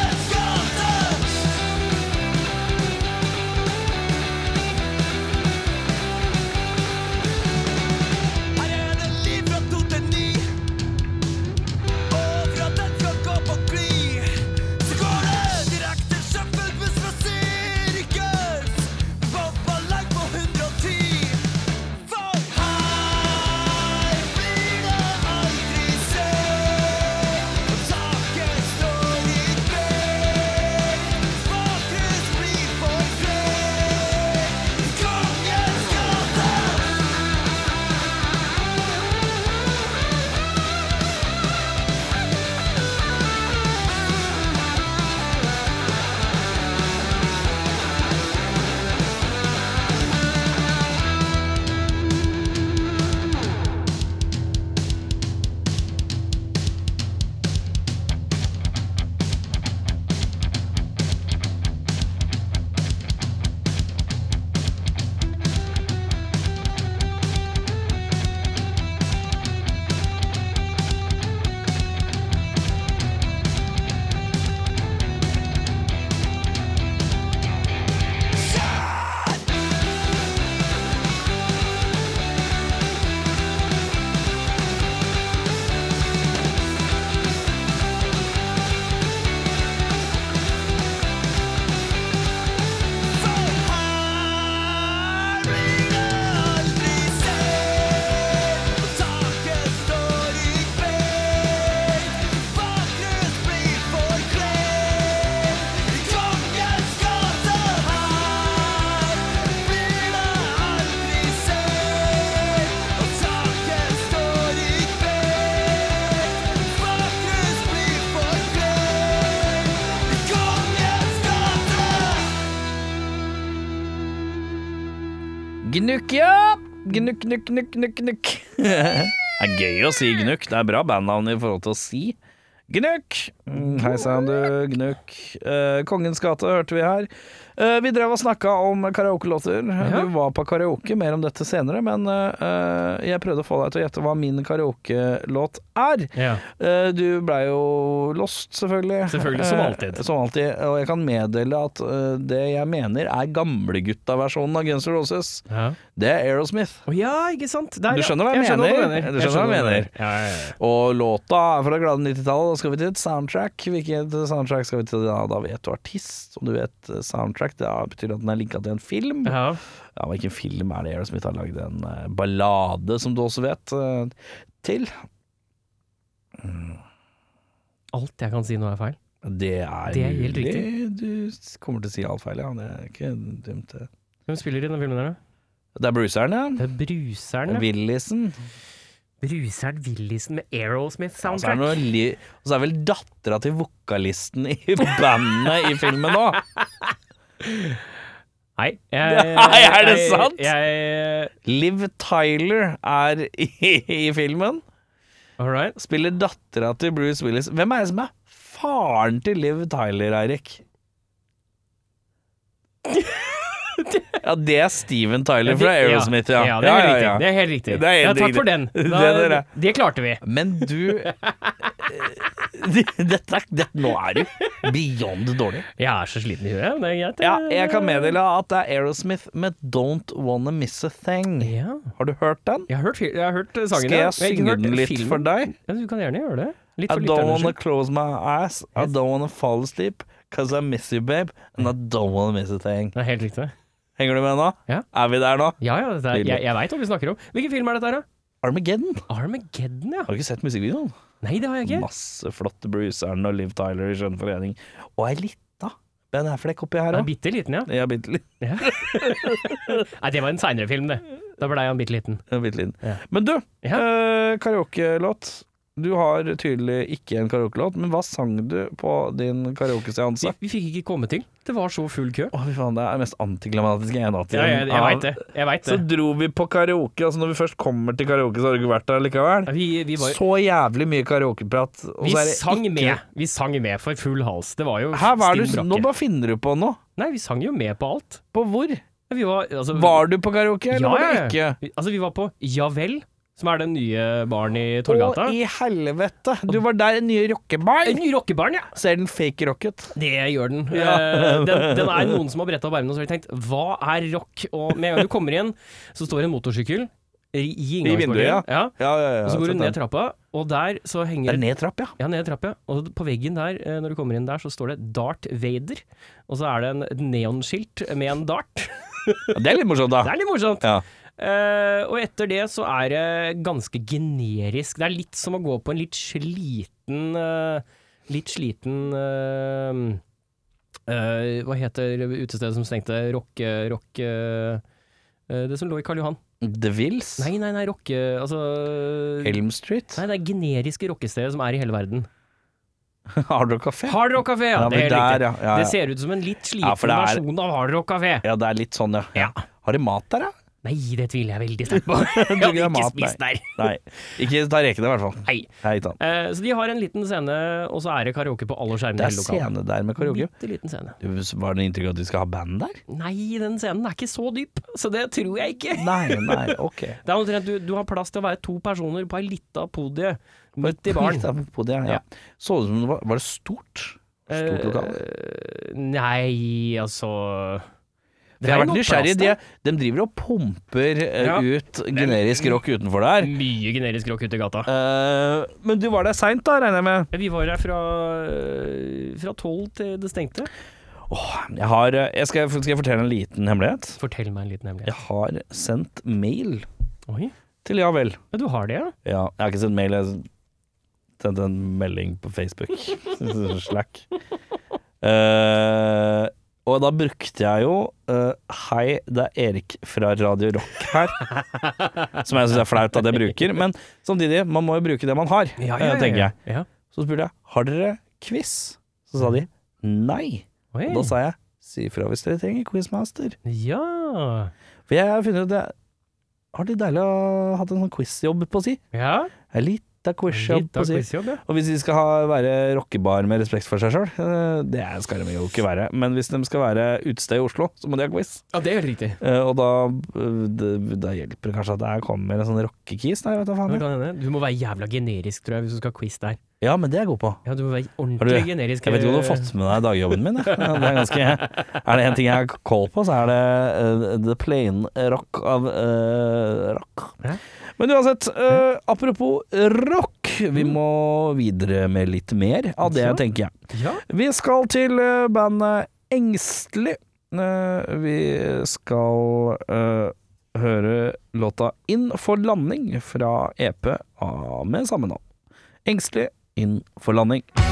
Speaker 3: Her er det liv fra to til ni. Og for at den skal gå på gli, så går det direkte søppelbuss fra sirkus. På ballag på 110. For her blir det aldri søvn. Og taket står i bønn. Smakhus blir for flere. Kongens gate. Her blir det aldri sent, og taket står i kveld. Bakgrunn blir forkledd i kongens gate. Her blir det aldri sent, og taket står i kveld. Bakgrunn blir forkledd i kongens gate.
Speaker 1: Gnukk, ja! Gnukk, gnukk, gnukk, gnukk, gnukk. Det er gøy å si gnukk. Det er bra bandnavn i forhold til å si gnukk. Mm, Hei sann, du. Gnukk. Eh, Kongens gate hørte vi her. Eh, vi drev og snakka om karaokelåter. Du
Speaker 2: Ja.
Speaker 1: var på karaoke, mer om dette senere, men eh, jeg prøvde å få deg til å gjette hva min karaokelåt er.
Speaker 2: Ja.
Speaker 1: Eh, Du blei jo lost, selvfølgelig.
Speaker 2: Selvfølgelig, som
Speaker 1: Eh,
Speaker 2: alltid.
Speaker 1: Som alltid. Og jeg kan meddele at eh, det jeg mener er gamlegutta-versjonen av Guns N' Roses.
Speaker 2: Ja.
Speaker 1: Det er Aerosmith.
Speaker 2: Å ja, ikke sant. Der,
Speaker 1: Du
Speaker 2: ja.
Speaker 1: skjønner hva jeg mener. Du skjønner hva jeg mener.
Speaker 2: Ja, ja, ja.
Speaker 1: Og låta er fra glade 90-tallet. Da skal vi til et soundtrack. Hvilket soundtrack skal vi til? Da, da vet du artist, og du vet eh, soundtrack. Det er- betyr at den er linka til en film. Ja,
Speaker 2: Ja.
Speaker 1: men Hvilken film er det Aerosmith har lagd en eh, ballade, som du også vet, eh, til?
Speaker 2: Alt jeg kan si nå er feil.
Speaker 1: Det er,
Speaker 2: Det er helt
Speaker 1: mulig.
Speaker 2: riktig.
Speaker 1: Du kommer til å si alt feil, ja. Det er ikke dumt, det.
Speaker 2: Hvem spiller i denne filmen der, da?
Speaker 1: Det er Bruceren, ja.
Speaker 2: Det er Bruseren. ja.
Speaker 1: Willisen.
Speaker 2: Bruseren Willisen med
Speaker 1: Og så altså, er, det
Speaker 2: Aerosmith-soundtrack.
Speaker 1: noe li og så er vel dattera til vokalisten i bandet i filmen òg.
Speaker 2: Nei, jeg-
Speaker 1: Nei, er det
Speaker 2: jeg-
Speaker 1: sant?
Speaker 2: Jeg,
Speaker 1: Liv Tyler er i, i filmen.
Speaker 2: all right.
Speaker 1: Spiller dattera til Bruce Willis. Hvem er det som er faren til Liv Tyler, Eirik? Ja, det er Steven Tyler fra Aerosmith, ja.
Speaker 2: det er, helt
Speaker 1: ja,
Speaker 2: Riktig. det er helt riktig.
Speaker 1: Det er helt
Speaker 2: ja, takk
Speaker 1: riktig.
Speaker 2: for den.
Speaker 1: Det
Speaker 2: Da,
Speaker 1: er
Speaker 2: det,
Speaker 1: det.
Speaker 2: klarte vi.
Speaker 1: Men du Dette er- det, Nå er du beyond dårlig.
Speaker 2: Jeg er så sliten i huet. men Det er greit.
Speaker 1: Ja, jeg kan meddele at det er Aerosmith med Don't Wanna Miss A Thing.
Speaker 2: Ja.
Speaker 1: Har du hørt den?
Speaker 2: Jeg har hørt, jeg har hørt sangen.
Speaker 1: Skal
Speaker 2: ja.
Speaker 1: jeg
Speaker 2: har ikke
Speaker 1: synge
Speaker 2: hørt
Speaker 1: den litt
Speaker 2: filmen.
Speaker 1: for deg?
Speaker 2: Ja, du kan gjerne gjøre det. Litt
Speaker 1: I
Speaker 2: for
Speaker 1: don't
Speaker 2: lytterne
Speaker 1: wanna
Speaker 2: skyld.
Speaker 1: close my eyes, I don't wanna fall asleep, cause I miss you, babe, and I don't wanna miss a thing.
Speaker 2: Det er helt riktig.
Speaker 1: Henger du med nå?
Speaker 2: Mm. Ja.
Speaker 1: Er vi der nå?
Speaker 2: Ja, ja, dette er,
Speaker 1: Nydelig.
Speaker 2: jeg, jeg veit hva vi snakker om. Hvilken film er dette her, da?
Speaker 1: Armageddon.
Speaker 2: Armageddon, ja.
Speaker 1: Har du ikke sett musikkvideoen?
Speaker 2: Nei, det har jeg ikke.
Speaker 1: Masse flotte Bruceren og Liv Tyler i skjønn forening. Og ei lita Ben Affleck oppi
Speaker 2: Den
Speaker 1: her
Speaker 2: er
Speaker 1: òg.
Speaker 2: bitte liten, ja.
Speaker 1: Ja, bitte litt.
Speaker 2: ja. Nei, det var en seinere film, det. Da blei han bitte liten.
Speaker 1: Ja, bitte liten.
Speaker 2: Ja.
Speaker 1: Men du,
Speaker 2: Ja.
Speaker 1: eh, karaokelåt. Du har tydelig ikke en karaokelåt, men hva sang du på din
Speaker 2: Vi,
Speaker 1: karaokeseanse?
Speaker 2: vi fikk ikke komme til. Det var så full kø.
Speaker 1: Å, fy faen, det er den mest antiklimatiske jeg har hatt. i
Speaker 2: Ja, jeg, jeg
Speaker 1: den.
Speaker 2: veit det. Jeg vet
Speaker 1: Så
Speaker 2: det.
Speaker 1: dro vi på karaoke, altså når vi først kommer til karaoke, så har du ikke vært der likevel.
Speaker 2: Ja, Vi, vi, var,
Speaker 1: Så jævlig mye karaokeprat. og
Speaker 2: vi
Speaker 1: så er det
Speaker 2: sang
Speaker 1: ikke-
Speaker 2: med. Vi sang med for full hals. Det var jo
Speaker 1: Hæ, hva er du,
Speaker 2: stinn
Speaker 1: nå
Speaker 2: brakke.
Speaker 1: bare finner du på noe.
Speaker 2: Nei, vi sang jo med på alt.
Speaker 1: På hvor?
Speaker 2: Ja, Vi var, altså,
Speaker 1: Var du på karaoke, eller
Speaker 2: Ja,
Speaker 1: var
Speaker 2: ja,
Speaker 1: du
Speaker 2: ja.
Speaker 1: ikke?
Speaker 2: Vi- Altså, vi var på Ja vel, som er den nye baren i Torgata.
Speaker 1: Å, i helvete. Du var der i nye rockebar.
Speaker 2: En ny rockebaren, ja!
Speaker 1: Ser den fake rocket?
Speaker 2: Det gjør den.
Speaker 1: Ja.
Speaker 2: Eh, den. Den er noen som har bretta opp ermene og så har de tenkt hva er rock? Og med en gang du kommer inn, så står en motorsykkel i, i
Speaker 1: I vinduet, ja.
Speaker 2: inngangspartiet. Ja.
Speaker 1: Ja, ja, ja.
Speaker 2: Og så går
Speaker 1: sett
Speaker 2: du ned
Speaker 1: den.
Speaker 2: trappa, og der så
Speaker 1: Det
Speaker 2: henger
Speaker 1: er ned trapp, ja.
Speaker 2: Ja, ned trappa. Og på veggen der, eh, når du kommer inn der, så står det Dart Vader. Og så er det en, et neonskilt med en dart.
Speaker 1: Ja, Det er litt morsomt, da.
Speaker 2: Det er litt morsomt.
Speaker 1: Ja.
Speaker 2: Eh, og etter det så er det ganske generisk. Det er litt som å gå på en litt sliten eh, Litt sliten eh, eh, Hva heter utestedet som stengte? Rock... eh, rock eh, eh, det som lå i Karl Johan.
Speaker 1: The Wills.
Speaker 2: Nei, nei, nei, rocke... Altså
Speaker 1: Elm Street.
Speaker 2: Nei, det er generiske rockesteder som er i hele verden.
Speaker 1: Hard Rock Café.
Speaker 2: Hard Rock Café, ja!
Speaker 1: Ja,
Speaker 2: det er
Speaker 1: men
Speaker 2: helt riktig.
Speaker 1: der, ja, ja, ja.
Speaker 2: Det ser ut som en litt sliten
Speaker 1: Ja, for det er-
Speaker 2: versjon av Hard Rock Café.
Speaker 1: Ja, det er litt sånn, ja.
Speaker 2: Ja.
Speaker 1: Har de mat der, da?
Speaker 2: Nei, det tviler jeg veldig sterkt på. Jeg hadde
Speaker 1: det er
Speaker 2: ikke
Speaker 1: mat, nei.
Speaker 2: spist der.
Speaker 1: Nei. Ikke ta rekene, i hvert fall.
Speaker 2: Nei.
Speaker 1: Nei, ikke sant.
Speaker 2: Eh, så de har en liten scene, og så er det karaoke på alle skjermene
Speaker 1: Det
Speaker 2: i
Speaker 1: er
Speaker 2: hele lokalet.
Speaker 1: scene der med Mm. karaoke.
Speaker 2: Bitte liten scene.
Speaker 1: Du, Var det inntrykk av at de skal ha band der?
Speaker 2: Nei, den scenen er ikke så dyp, så det tror jeg ikke.
Speaker 1: Nei, nei, ok.
Speaker 2: Det er omtrent du, du har plass til å være to personer på ei lita podie midt i
Speaker 1: Litt
Speaker 2: baren.
Speaker 1: av på det, ja.
Speaker 2: Ja.
Speaker 1: Så det ut som det var Var det stort? Stort lokale?
Speaker 2: Eh, nei, altså
Speaker 1: For Jeg har vært
Speaker 2: noe
Speaker 1: nysgjerrig. De,
Speaker 2: plass
Speaker 1: de driver og pumper eh,
Speaker 2: Ja.
Speaker 1: ut generisk rock utenfor der.
Speaker 2: der. Mye generisk rock ute i gata.
Speaker 1: Eh, men du var der seint, da, regner jeg med?
Speaker 2: Vi var her fra, fra tolv til det stengte.
Speaker 1: Jeg har, eh, jeg skal, skal jeg fortelle en liten hemmelighet?
Speaker 2: Fortell meg en liten hemmelighet.
Speaker 1: Jeg har sendt mail
Speaker 2: Oi,
Speaker 1: til Ja vel.
Speaker 2: ja, du har det, ja?
Speaker 1: Ja, jeg har ikke sendt mail, jeg har sendt en melding på Facebook. Slack. Eh, og da brukte jeg jo eh, Hei, det er Erik fra Radio Rock her. som jeg syns er flaut at jeg bruker, men samtidig, man må jo bruke det man har, eh, tenker jeg.
Speaker 2: Ja.
Speaker 1: Så spurte jeg har dere quiz. Så sa de nei.
Speaker 2: Oi.
Speaker 1: Og da sa jeg si ifra hvis dere trenger quizmaster.
Speaker 2: ja.
Speaker 1: For jeg har funnet ut det har vært litt deilig å ha hatt en sånn quizjobb på si.
Speaker 2: ja.
Speaker 1: En lita quizjobb
Speaker 2: Litt
Speaker 1: på
Speaker 2: av
Speaker 1: si.
Speaker 2: quizjobb, ja.
Speaker 1: Og hvis de skal ha, være rockebar med respekt for seg sjøl, det skal de jo ikke være. Men hvis de skal være utested i Oslo, så må de ha quiz.
Speaker 2: ja, det er helt riktig.
Speaker 1: Eh, Og da, eh, det- da hjelper det kanskje at det her kommer en sånn rockekis. Nei, vet du
Speaker 2: Ja,
Speaker 1: faen.
Speaker 2: det
Speaker 1: jeg.
Speaker 2: kan hende. Du må være jævla generisk, tror jeg, hvis du skal ha quiz der.
Speaker 1: Ja, men det er jeg god på.
Speaker 2: Ja, du må være
Speaker 1: Har du-
Speaker 2: ordentlig generisk.
Speaker 1: Jeg vet ikke om du har fått med deg dagjobben min. jeg. Det er, ganske, er det en ting jeg har koll på, så er det eh, the plain rock av eh, rock.
Speaker 2: Ja.
Speaker 1: Men uansett, eh, apropos rock, vi må videre med litt mer av det,
Speaker 2: Så.
Speaker 1: tenker jeg.
Speaker 2: Ja.
Speaker 1: Vi skal til eh, bandet Engstelig. Eh, Vi skal eh, høre låta Inn for landing fra E EP av- med samme navn. Engstelig, Inn for landing.
Speaker 3: I've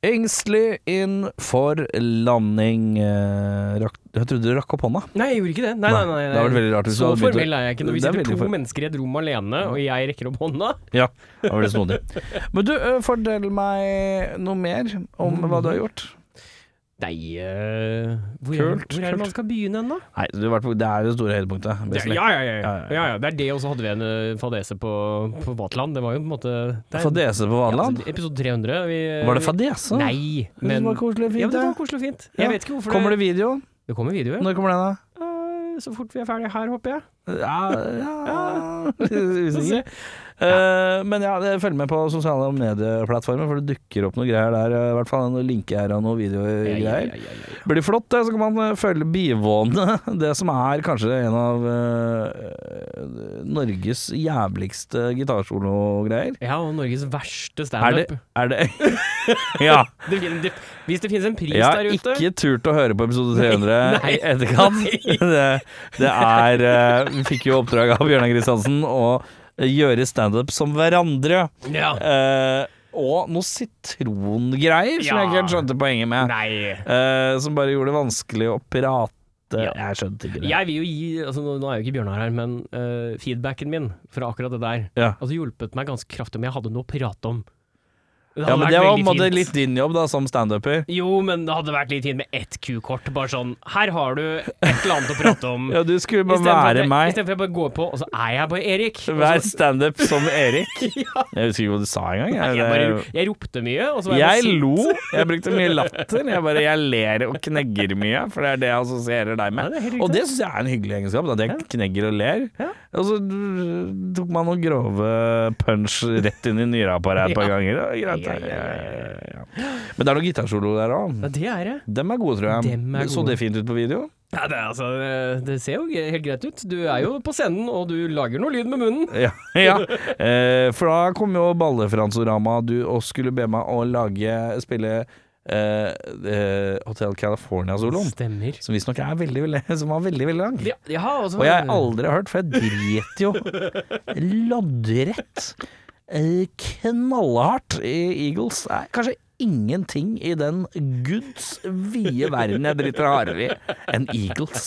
Speaker 1: Engstelig inn for landing Eh, rakk, Jeg trodde du rakk opp hånda.
Speaker 2: Nei, jeg gjorde ikke det. Nei, nei, nei,
Speaker 1: Det var veldig rart hvis du
Speaker 2: Så
Speaker 1: hadde begynt å-
Speaker 2: formell er jeg ikke når vi
Speaker 1: Det er
Speaker 2: sitter to
Speaker 1: veldig for-
Speaker 2: mennesker i et rom alene, og jeg rekker opp hånda.
Speaker 1: Ja, det var veldig snodig. Men du, eh, fortell meg noe mer om hva du har gjort.
Speaker 2: Nei, eh, hvor, er,
Speaker 1: Kult,
Speaker 2: hvor er det man skal begynne hen, da?
Speaker 1: Nei, du har vært på, Det er det store høydepunktet.
Speaker 2: Det,
Speaker 1: basically.
Speaker 2: ja, ja, ja, ja,
Speaker 1: Ja, ja.
Speaker 2: ja, ja. Det er det, og så hadde vi en eh, fadese på, på Vaterland. Det var jo på en måte det er-
Speaker 1: Fadese på
Speaker 2: Ja,
Speaker 1: Vadeland?
Speaker 2: altså, episode 300. Vi,
Speaker 1: Var det fadese?
Speaker 2: Nei,
Speaker 1: Men, det
Speaker 2: men
Speaker 1: var koselig og
Speaker 2: ja,
Speaker 1: fint,
Speaker 2: men det var
Speaker 1: det.
Speaker 2: koselig og fint.
Speaker 1: Ja.
Speaker 2: Jeg vet ikke hvorfor
Speaker 1: Kommer
Speaker 2: det,
Speaker 1: det video?
Speaker 2: det kommer videoer.
Speaker 1: Når kommer den, da?
Speaker 2: Eh, så fort vi er ferdige her, håper jeg.
Speaker 1: Ja, ja.
Speaker 2: Se.
Speaker 1: Usikker. Eh, men ja, det- følg med på sosiale medieplattformer, for det dukker opp noe greier der. eh, I hvert fall en link her og noen videogreier.
Speaker 2: ja, ja, ja.
Speaker 1: Blir det flott, det, så kan man eh, følge bivåne det som er kanskje en av eh, Norges jævligste gitarsolo-greier.
Speaker 2: Ja, og Norges
Speaker 1: Er
Speaker 2: verste
Speaker 1: det
Speaker 2: standup.
Speaker 1: Er det Ja.
Speaker 2: Det fin- det- Hvis det finnes en pris
Speaker 1: Jeg har
Speaker 2: der ute
Speaker 1: ikke turt å høre på episode 300
Speaker 2: Nei.
Speaker 1: i etterkant. Det, det er eh, Vi fikk jo oppdrag av Bjørnar Kristiansen å eh, gjøre standup som hverandre.
Speaker 2: ja.
Speaker 1: Eh, og noe sitrongreier, som jeg ikke helt
Speaker 2: Ja.
Speaker 1: skjønte poenget med.
Speaker 2: Nei.
Speaker 1: Eh, som bare gjorde det vanskelig å prate.
Speaker 2: Ja.
Speaker 1: Jeg skjønte ikke det.
Speaker 2: Jeg vil jo gi altså, Nå nå er jo ikke Bjørnar her, men eh, feedbacken min fra akkurat det der
Speaker 1: Ja.
Speaker 2: Altså hjulpet meg ganske kraftig om jeg hadde noe å prate om. Det
Speaker 1: Ja,
Speaker 2: hadde
Speaker 1: men
Speaker 2: vært
Speaker 1: det var på
Speaker 2: veldig
Speaker 1: en måte
Speaker 2: fint.
Speaker 1: litt din jobb da, som standuper.
Speaker 2: Jo, men det hadde vært litt fint med ett Q-kort. Bare sånn Her har du et eller annet å prate om.
Speaker 1: Ja, du skulle bare
Speaker 2: Istedenfor at
Speaker 1: være
Speaker 2: jeg-
Speaker 1: meg.
Speaker 2: Istedenfor at jeg bare går på, og så er jeg bare Erik. Og
Speaker 1: Vær
Speaker 2: så-
Speaker 1: standup som Erik.
Speaker 2: ja,
Speaker 1: Jeg husker ikke hva du sa engang.
Speaker 2: nei,
Speaker 1: jeg.
Speaker 2: jeg,
Speaker 1: Det-
Speaker 2: bare, jeg ropte mye, og så var jeg,
Speaker 1: Jeg
Speaker 2: bare sint.
Speaker 1: lo, jeg brukte mye latter. Jeg bare jeg ler og knegger mye, for det er det jeg assosierer deg
Speaker 2: Ja,
Speaker 1: med.
Speaker 2: det er helt riktig.
Speaker 1: og det syns jeg er en hyggelig egenskap, at jeg knegger og ler.
Speaker 2: Ja.
Speaker 1: Og så tok man noen grove punch rett inn i nyreapparatet et par
Speaker 2: Ja.
Speaker 1: ganger. Det var greit.
Speaker 2: Ja, ja, ja,
Speaker 1: ja. Men det er noen gitarsolo der òg.
Speaker 2: Ja, det er det.
Speaker 1: Dem er gode, tror jeg.
Speaker 2: Dem er
Speaker 1: Så
Speaker 2: gode.
Speaker 1: det fint ut på video?
Speaker 2: Ja, det, er altså, det- det ser jo ge- helt greit ut. Du er jo på scenen, og du lager noe lyd med munnen.
Speaker 1: Ja. ja. Eh, for da kom jo Balle-Franzorama, du og skulle be meg å lage, spille eh, eh, Hotel California-soloen.
Speaker 2: Stemmer.
Speaker 1: som visstnok er veldig, veldig, som var veldig, veldig lang.
Speaker 2: Ja, ja, altså-
Speaker 1: Og jeg har aldri hørt, for jeg dret jo loddrett eh, knallhardt i Eagles. Det er kanskje ingenting i den guds vide verden jeg driter hardere i enn Eagles.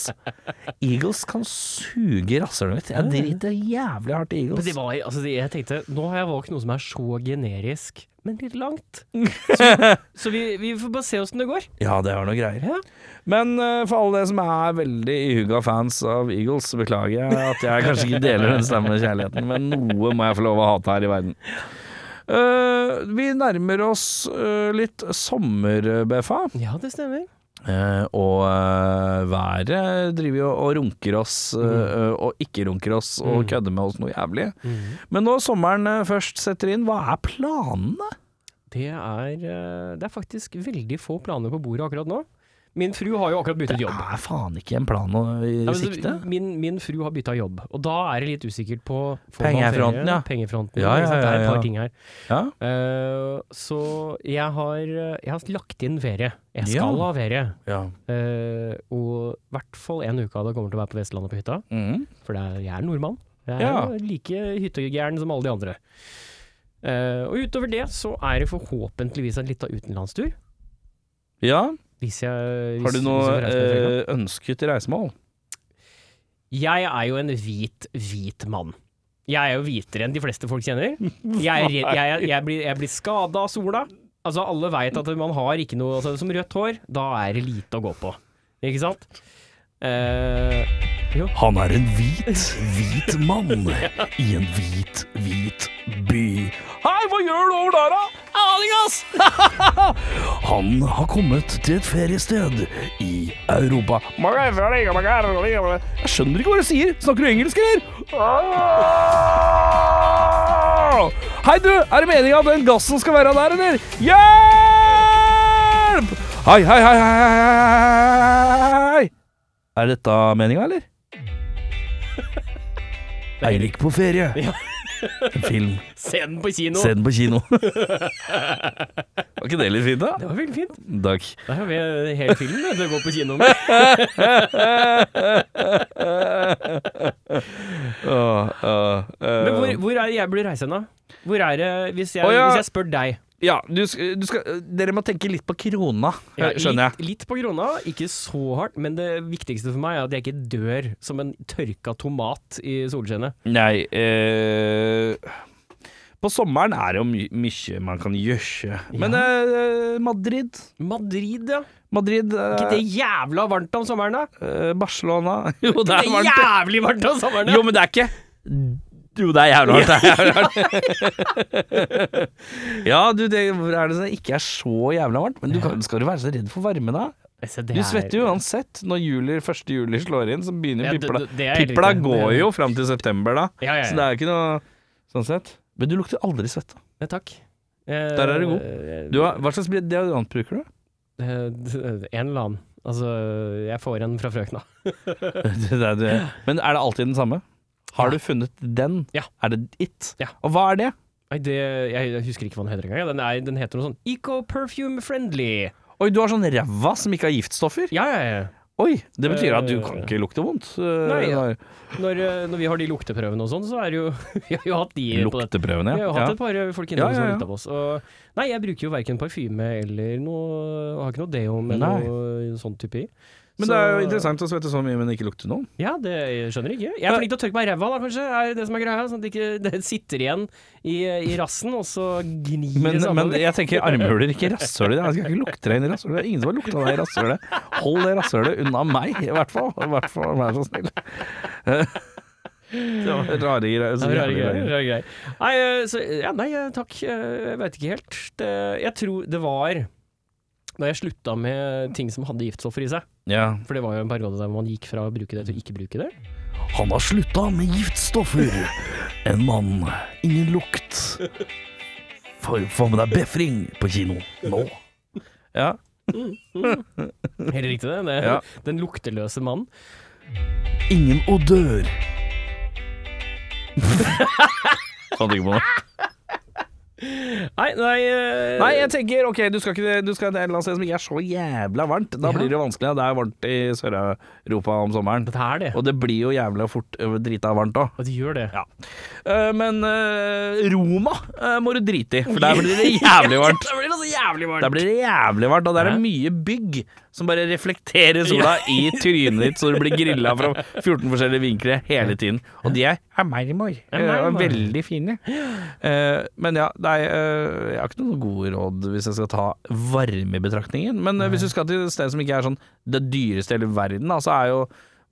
Speaker 1: Eagles kan suge rasshølet mitt. Jeg driter jævlig hardt i
Speaker 2: Men
Speaker 1: Eagles.
Speaker 2: det var, altså, det- jeg tenkte, nå har jeg valgt noe som er så generisk, men litt langt. Så, så vi, vi får bare se åssen det går.
Speaker 1: Ja, det var noe greier.
Speaker 2: Ja.
Speaker 1: Men eh, for alle dere som er veldig ihuga fans av Eagles, så beklager jeg at jeg kanskje ikke deler den samme kjærligheten, men noe må jeg få lov å hate her i verden. Eh, vi nærmer oss eh, litt sommer, eh, BFA.
Speaker 2: Ja, det stemmer.
Speaker 1: Eh, og eh, været driver jo og runker oss, eh,
Speaker 2: Mm.
Speaker 1: eh, og ikke runker oss, og kødder med oss noe jævlig. Men når sommeren eh, først setter inn, hva er planene?
Speaker 2: Det er, eh, det er faktisk veldig få planer på bordet akkurat nå. Min fru har jo akkurat byttet
Speaker 1: Det
Speaker 2: jobb.
Speaker 1: er faen ikke en plan å- i
Speaker 2: Ja, men så-
Speaker 1: sikte.
Speaker 2: Min, min fru har bytta jobb, og da er det litt usikkert på får man
Speaker 1: Pengefronten,
Speaker 2: ferie?
Speaker 1: ja.
Speaker 2: Pengefronten,
Speaker 1: Ja,
Speaker 2: ikke sant?
Speaker 1: ja, ja,
Speaker 2: Det er et
Speaker 1: ja.
Speaker 2: par ting her.
Speaker 1: Ja.
Speaker 2: Eh, så jeg har, jeg har lagt inn ferie. Jeg
Speaker 1: Ja.
Speaker 2: skal ha ferie.
Speaker 1: ja.
Speaker 2: Eh, og i hvert fall en uke av det kommer til å være på Vestlandet på hytta,
Speaker 1: Mhm.
Speaker 2: for det er, jeg er nordmann. Jeg er
Speaker 1: Ja.
Speaker 2: jo like hyttegæren som alle de andre. Eh, og utover det så er det forhåpentligvis en lita utenlandstur.
Speaker 1: ja.
Speaker 2: Hvis jeg, hvis,
Speaker 1: Har du
Speaker 2: hvis
Speaker 1: noe
Speaker 2: jeg får reise med ferie.
Speaker 1: eh, ønsket reisemål?
Speaker 2: Jeg er jo en hvit, hvit mann. Jeg er jo hvitere enn de fleste folk kjenner. Jeg, er redd- jeg, jeg, jeg blir, jeg blir skada av sola. Altså, alle veit at man har ikke noe altså, Som rødt hår, da er det lite å gå på. Ikke sant? Eh,
Speaker 1: Han er en hvit, hvit mann i en hvit, hvit by. Hei, hva gjør du over der, da? Aning, ass! Han har kommet til et feriested i Europa. Jeg skjønner ikke hva du sier. Snakker du engelsk, eller? Hei, du! Er det meninga at den gassen skal være der, eller? Hjelp! Hei, hei, hei, hei, hei, hei, hei! Er dette meninga, eller? Eirik på ferie. En film.
Speaker 2: se den på kino!
Speaker 1: Se den på kino. Var ikke det litt fint, da?
Speaker 2: Det var veldig fint.
Speaker 1: Takk.
Speaker 2: Det er jo hele filmen vet du, å gå på kino med.
Speaker 1: Åh, åh,
Speaker 2: Men
Speaker 1: åh.
Speaker 2: hvor, hvor er det jeg burde reise hen, da? Hvor er det, hvis jeg,
Speaker 1: Å, ja.
Speaker 2: hvis jeg spør deg
Speaker 1: Ja, du, sk- du skal, dere må tenke litt på krona,
Speaker 2: Ja,
Speaker 1: skjønner jeg.
Speaker 2: Litt, litt på krona, ikke så hardt, men det viktigste for meg er at jeg ikke dør som en tørka tomat i solskinnet.
Speaker 1: Nei eh, På sommeren er det jo my mye man kan gjøre. Men eh, Madrid
Speaker 2: Madrid, ja.
Speaker 1: Madrid
Speaker 2: Ikke
Speaker 1: eh,
Speaker 2: det jævla varmt om sommeren, da?
Speaker 1: eh, Barcelona Jo, det
Speaker 2: Det
Speaker 1: er
Speaker 2: er
Speaker 1: varmt. det.
Speaker 2: jævlig varmt om sommeren, da!
Speaker 1: Jo, men det er ikke Jo, det er jævlig hardt. Det er jævlig hardt. ja, du, det hvor er det som ikke er så jævlig varmt. Men du kan, skal du være så redd for varme, da?
Speaker 2: Altså, det
Speaker 1: Du
Speaker 2: er-
Speaker 1: svetter jo uansett. Når juli, første juli slår inn, så begynner
Speaker 2: Ja, det-
Speaker 1: pipla.
Speaker 2: det- det er helt
Speaker 1: Pipla
Speaker 2: riktig.
Speaker 1: går
Speaker 2: Det-
Speaker 1: jo fram til september, da.
Speaker 2: Ja, ja, ja.
Speaker 1: Så det er jo ikke noe sånn sett. Men du lukter aldri svette.
Speaker 2: Ja, takk.
Speaker 1: Der er du god. Du har, hva slags deodorant bruker du?
Speaker 2: En eller annen. Altså, jeg får en fra frøkna.
Speaker 1: Det er det. Men er det alltid den samme? Har du funnet den?
Speaker 2: Ja.
Speaker 1: Er det it?
Speaker 2: Ja.
Speaker 1: Og hva er det?
Speaker 2: Nei, det, jeg, jeg husker ikke hva den heter engang. Den, er, den heter noe sånn Eco Perfume Friendly.
Speaker 1: Oi, du har sånn ræva som ikke har giftstoffer?
Speaker 2: Ja, ja, ja.
Speaker 1: Oi, det betyr at du
Speaker 2: Eh,
Speaker 1: kan ikke lukte vondt. Eh,
Speaker 2: Nei, ja. Når, eh, når vi har de lukteprøvene og sånn, så er det jo Vi har jo hatt de på dette.
Speaker 1: Lukteprøvene,
Speaker 2: Vi
Speaker 1: ja.
Speaker 2: har jo
Speaker 1: ja.
Speaker 2: hatt et par folk innom
Speaker 1: Ja, ja,
Speaker 2: som har
Speaker 1: ja.
Speaker 2: lukta på oss. Og nei, jeg bruker jo verken parfyme eller noe Har ikke noe deo med
Speaker 1: Nei.
Speaker 2: noe sånn type i.
Speaker 1: Men
Speaker 2: Så-
Speaker 1: det er jo interessant å svette så mye, men ikke lukte noen.
Speaker 2: Ja, det jeg skjønner ikke. Jeg er flink til å tørke meg i ræva, da, kanskje. er det som er greia. Sånn at det ikke det sitter igjen i, i rassen, og så gnir
Speaker 1: Men,
Speaker 2: det sammen.
Speaker 1: men jeg tenker armhuler, ikke rasshølet. Jeg skal ikke lukte deg inn i rasshølet. Det er ingen som har lukta deg i rasshølet. Hold det rasshølet unna meg, i hvert fall. I hvert fall, vær så snill. Eh, Det var rare greier.
Speaker 2: Ja, Rare greier. Rare greier. Nei, eh, så, ja, nei, eh, takk. Eh, Jeg veit ikke helt. Det, jeg tror det var da jeg slutta med ting som hadde giftstoffer i seg.
Speaker 1: Ja.
Speaker 2: For det var jo en periode der man gikk fra å bruke det til å ikke bruke det.
Speaker 1: Han har slutta med giftstoffer. En mann, ingen lukt. For, få med deg befring på kino nå. Ja.
Speaker 2: Helt riktig, det. det
Speaker 1: Ja.
Speaker 2: Den lukteløse mannen.
Speaker 1: Ingen odør. Fant ikke på noe.
Speaker 2: Nei, nei, eh,
Speaker 1: Nei, jeg tenker ok, du skal, ikke, du skal til et eller annet sted som ikke er så jævla varmt. Da
Speaker 2: Ja.
Speaker 1: blir det jo vanskelig. Det er varmt i Sør-Europa om sommeren.
Speaker 2: Det er det.
Speaker 1: Og det blir jo jævla fort ø, drita varmt òg.
Speaker 2: Og de gjør det.
Speaker 1: Eh, men ø, Roma ø, må du drite i, for der blir det jævlig varmt.
Speaker 2: Da blir det så jævlig varmt.
Speaker 1: Der blir det jævlig varmt, og der er
Speaker 2: Hæ?
Speaker 1: det mye bygg som bare reflekterer sola i trynet ditt, så du blir grilla fra 14 forskjellige vinkler hele tiden. Og de er amermor.
Speaker 2: Amermor.
Speaker 1: Og veldig fine. Eh, Men ja, nei, eh, jeg har ikke noen gode råd hvis jeg skal ta varme i betraktningen. Men eh, hvis du skal til et sted som ikke er sånn det dyreste i hele verden, da, så er jo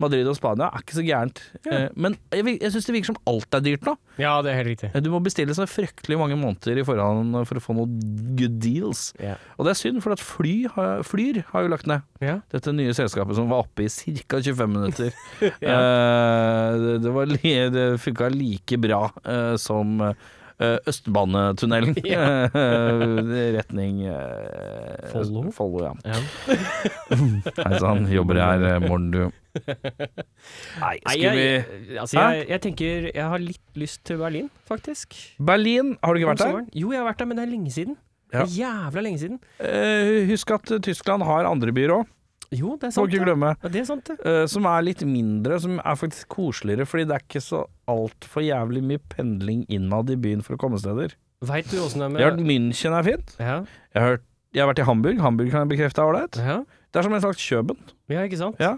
Speaker 1: Madrid og Spania er ikke så gærent. Eh, Men jeg, vil- jeg syns det virker som alt er dyrt nå.
Speaker 2: Ja, det er helt riktig.
Speaker 1: Eh, Du må bestille så fryktelig mange måneder i forhånd eh, for å få noen good deals.
Speaker 2: Ja.
Speaker 1: Og det er synd, for at fly, har- Flyr har jo lagt ned
Speaker 2: Ja.
Speaker 1: dette nye selskapet som var oppe i ca. 25 minutter. Eh, det, det, var li, det funka like bra eh, som eh, Østbanetunnelen. Eh, retning eh,
Speaker 2: Follo?
Speaker 1: Follo, ja.
Speaker 2: Ja.
Speaker 1: Hei sann, jobber her eh, morgen, du. Nei,
Speaker 2: Nei,
Speaker 1: skulle vi
Speaker 2: jeg, altså,
Speaker 1: Hæ?
Speaker 2: jeg, jeg tenker jeg har litt lyst til Berlin, faktisk.
Speaker 1: Berlin, har du ikke vært
Speaker 2: Om
Speaker 1: der?
Speaker 2: sommeren. Jo, jeg har vært der, men det er lenge siden.
Speaker 1: Ja.
Speaker 2: Det er Jævla lenge siden.
Speaker 1: Eh, husk at eh, Tyskland har andre byer òg,
Speaker 2: Jo, det
Speaker 1: må
Speaker 2: er sant.
Speaker 1: ikke
Speaker 2: det.
Speaker 1: glemme.
Speaker 2: Ja, det er sant, det.
Speaker 1: eh, som er litt mindre, som er faktisk koseligere, fordi det er ikke så altfor jævlig mye pendling innad i byen for å komme steder.
Speaker 2: Veit du åssen det er
Speaker 1: Jeg har hørt
Speaker 2: med
Speaker 1: München er fint.
Speaker 2: ja,
Speaker 1: Jeg har, hørt, jeg har vært i Hamburg. Hamburg kan jeg bekrefte er ålreit.
Speaker 2: ja.
Speaker 1: Det er som en slags Kjøben.
Speaker 2: ja, ikke sant?
Speaker 1: Ja.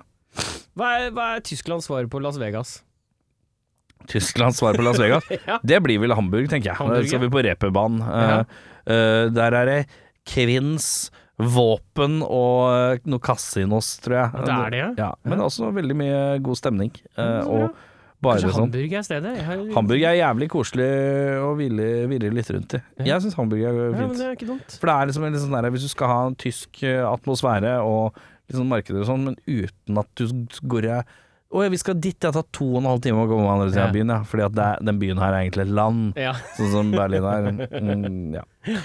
Speaker 2: Hva er, hva er Tysklands svar på Las Vegas?
Speaker 1: Tysklands svar på Las Vegas.
Speaker 2: Ja.
Speaker 1: Det blir vel Hamburg, tenker jeg. Eh,
Speaker 2: Hamburg,
Speaker 1: så
Speaker 2: ja.
Speaker 1: er vi på reperbanen.
Speaker 2: Ja.
Speaker 1: Eh, eh, der er det kvinns, våpen og eh, noe casinos, tror jeg.
Speaker 2: Ja, det er det, ja.
Speaker 1: ja. Men også veldig mye god stemning. eh,
Speaker 2: Ja, så bra.
Speaker 1: og bare
Speaker 2: Kanskje
Speaker 1: sånn
Speaker 2: Hamburg er stedet? Jeg har...
Speaker 1: Hamburg er jævlig koselig å ville, virre litt rundt i. Jeg syns Hamburg er
Speaker 2: ja, men
Speaker 1: fint.
Speaker 2: det er ikke dumt.
Speaker 1: For det er liksom en litt sånn der, hvis du skal ha en tysk eh, atmosfære og litt sånn markeder og sånn, men uten at du s- går i å ja, vi skal dit, det har tatt to og en halv time å komme andre siden av
Speaker 2: Ja.
Speaker 1: byen, ja. Fordi at det er, den byen her er egentlig et land,
Speaker 2: Ja.
Speaker 1: sånn som Berlin er. Mm, ja.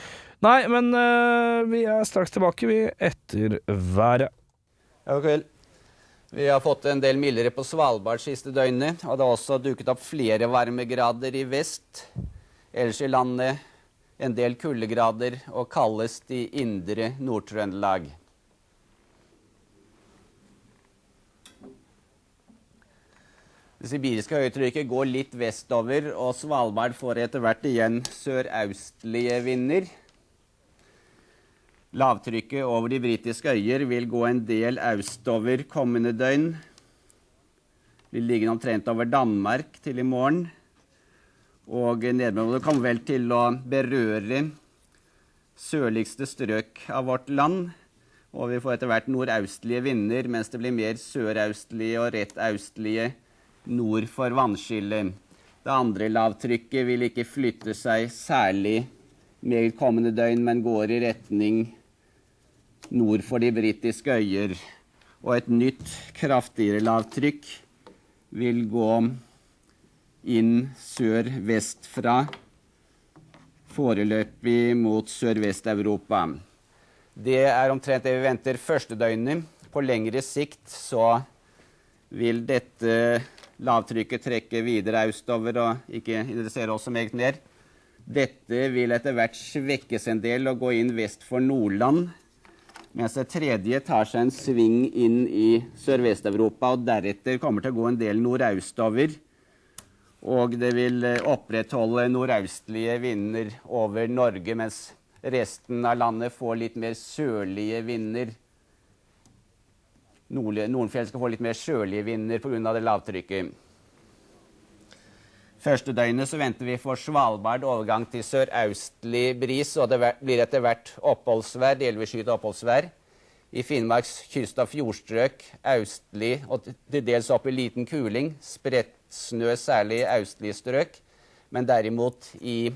Speaker 1: Nei, men eh, vi er straks tilbake, vi, etter været.
Speaker 4: Ja, god kveld. Vi har fått en del mildere på Svalbard siste døgnet. Og det har også dukket opp flere varmegrader i vest. Ellers i landet en del kuldegrader og kaldest i indre Nord-Trøndelag. Det sibiriske høytrykket går litt vestover, og Svalbard får etter hvert igjen sørøstlige vinder. Lavtrykket over de britiske øyer vil gå en del østover kommende døgn. Vil ligge omtrent over Danmark til i morgen. Og nedbøren kommer vel til å berøre sørligste strøk av vårt land. Og vi får etter hvert nordaustlige vinder, mens det blir mer søraustlige og rettaustlige nord for vannskillet. Det andre lavtrykket vil ikke flytte seg særlig meget kommende døgn, men går i retning nord for de britiske øyer. Og et nytt, kraftigere lavtrykk vil gå inn sør-vestfra, foreløpig mot Sørvest-Europa. Det er omtrent det vi venter første døgnet. På lengre sikt så vil dette lavtrykket trekke videre østover og ikke interessere oss så meget mer. Dette vil etter hvert svekkes en del og gå inn vest for Nordland. Mens det tredje tar seg en sving inn i Sørvest-Europa og deretter kommer til å gå en del nordøstover. Og det vil eh, opprettholde nordøstlige vinder over Norge, mens resten av landet får litt mer sørlige vinder. Nordlige- Nordenfjell skal få litt mer sørlige vinder pga. det lavtrykket. Første døgnet så venter vi for Svalbard overgang til sørøstlig bris, og det ver- blir etter hvert oppholdsvær, delvis skyet oppholdsvær. I Finnmarks kyst- og fjordstrøk østlig og t- til dels opp i liten kuling. Spredt snø, særlig i østlige strøk. Men derimot i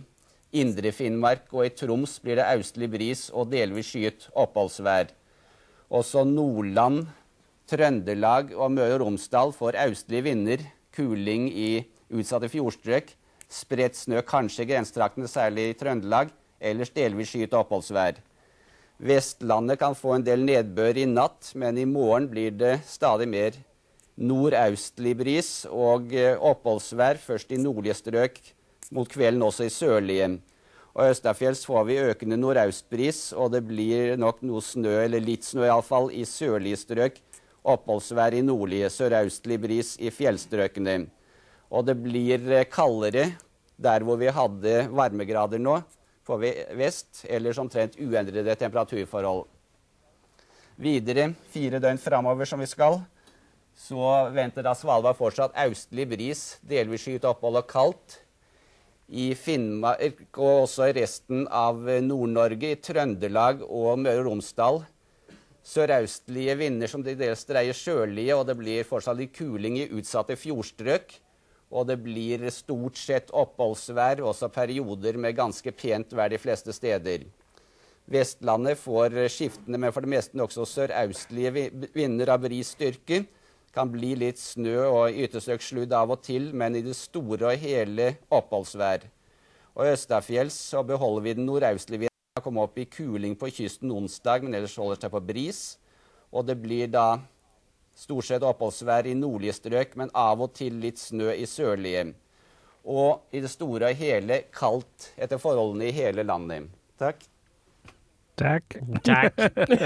Speaker 4: indre Finnmark og i Troms blir det østlig bris og delvis skyet oppholdsvær. Også Nordland, Trøndelag og Møre og Romsdal får østlige vinder. Kuling i utsatte fjordstrøk. Spredt snø, kanskje i grensetraktene, særlig i Trøndelag. Ellers delvis skyet oppholdsvær. Vestlandet kan få en del nedbør i natt, men i morgen blir det stadig mer nordaustlig bris og eh, oppholdsvær, først i nordlige strøk, mot kvelden også i sørlige. Og Østafjells får vi økende nordaustbris, og det blir nok noe snø, eller litt snø iallfall, i sørlige strøk. Oppholdsvær i nordlige, sørøstlig bris i fjellstrøkene. Og det blir eh, kaldere der hvor vi hadde varmegrader nå, for ve- vest, ellers omtrent uendrede temperaturforhold. Videre, fire døgn framover som vi skal, så venter da Svalbard fortsatt østlig bris, delvis skyet opphold og kaldt. I Finnmark og også i resten av eh, Nord-Norge, i Trøndelag og Møre og Romsdal sørøstlige vinder som til dels dreier sørlige, og det blir fortsatt litt kuling i utsatte fjordstrøk. Og det blir stort sett oppholdsvær, også perioder med ganske pent vær de fleste steder. Vestlandet får skiftende, men for det meste nokså sørøstlige vi- vinder av bris styrke. Kan bli litt snø og i ytterstrøk sludd av og til, men i det store og hele oppholdsvær. Og østafjells så beholder vi den nordøstlige vinden. Den kommer opp i kuling på kysten onsdag, men ellers holder seg på bris. Og det blir da stort sett oppholdsvær i nordlige strøk, men av og til litt snø i sørlige. Og i det store og hele kaldt etter forholdene i hele landet. Takk.
Speaker 1: Takk.
Speaker 2: Jack.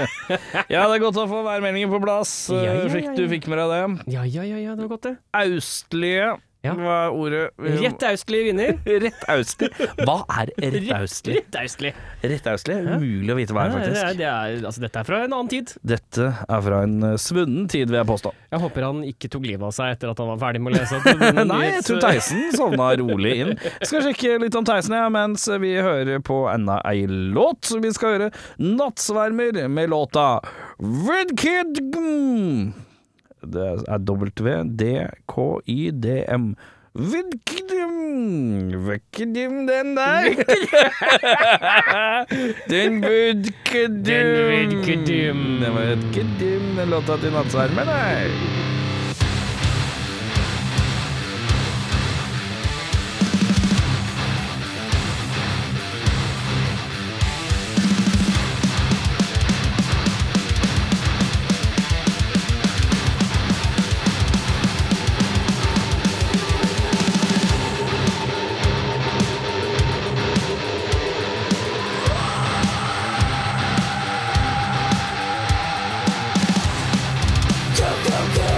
Speaker 1: Ja, det er godt å få værmeldingen på plass. Eh,
Speaker 2: Ja, ja, ja,
Speaker 1: Fikk du
Speaker 2: ja.
Speaker 1: fikk med deg det?
Speaker 2: Ja, ja, ja, ja, det var godt, det.
Speaker 1: Austlige
Speaker 2: Ja.
Speaker 1: var ordet. vi-
Speaker 2: Rett austlig vinner.
Speaker 1: Rett austlig? Hva er rett austlig?
Speaker 2: Rett austlig.
Speaker 1: Rett austlig er umulig å vite hva er,
Speaker 2: Ja, det er,
Speaker 1: faktisk.
Speaker 2: det er, altså, dette er fra en annen tid.
Speaker 1: Dette er fra en eh, svunnen tid, vil jeg påstå.
Speaker 2: Jeg håper han ikke tok livet av seg etter at han var ferdig med å lese. at-
Speaker 1: Nei, jeg tror Theisen sovna rolig inn. Skal sjekke litt om Theisen ja, mens vi hører på enda ei låt. Vi skal høre 'Nattsvermer' med låta 'Vidkidgm'. Det er W-D-K-I-D-M. Vidkidgm Vidkidgm, den der! Den vidkidgm
Speaker 2: Den vidkidgm.
Speaker 1: Den var vidkidgm, den låta til Nattsvermer, nei.
Speaker 5: Go, go, go!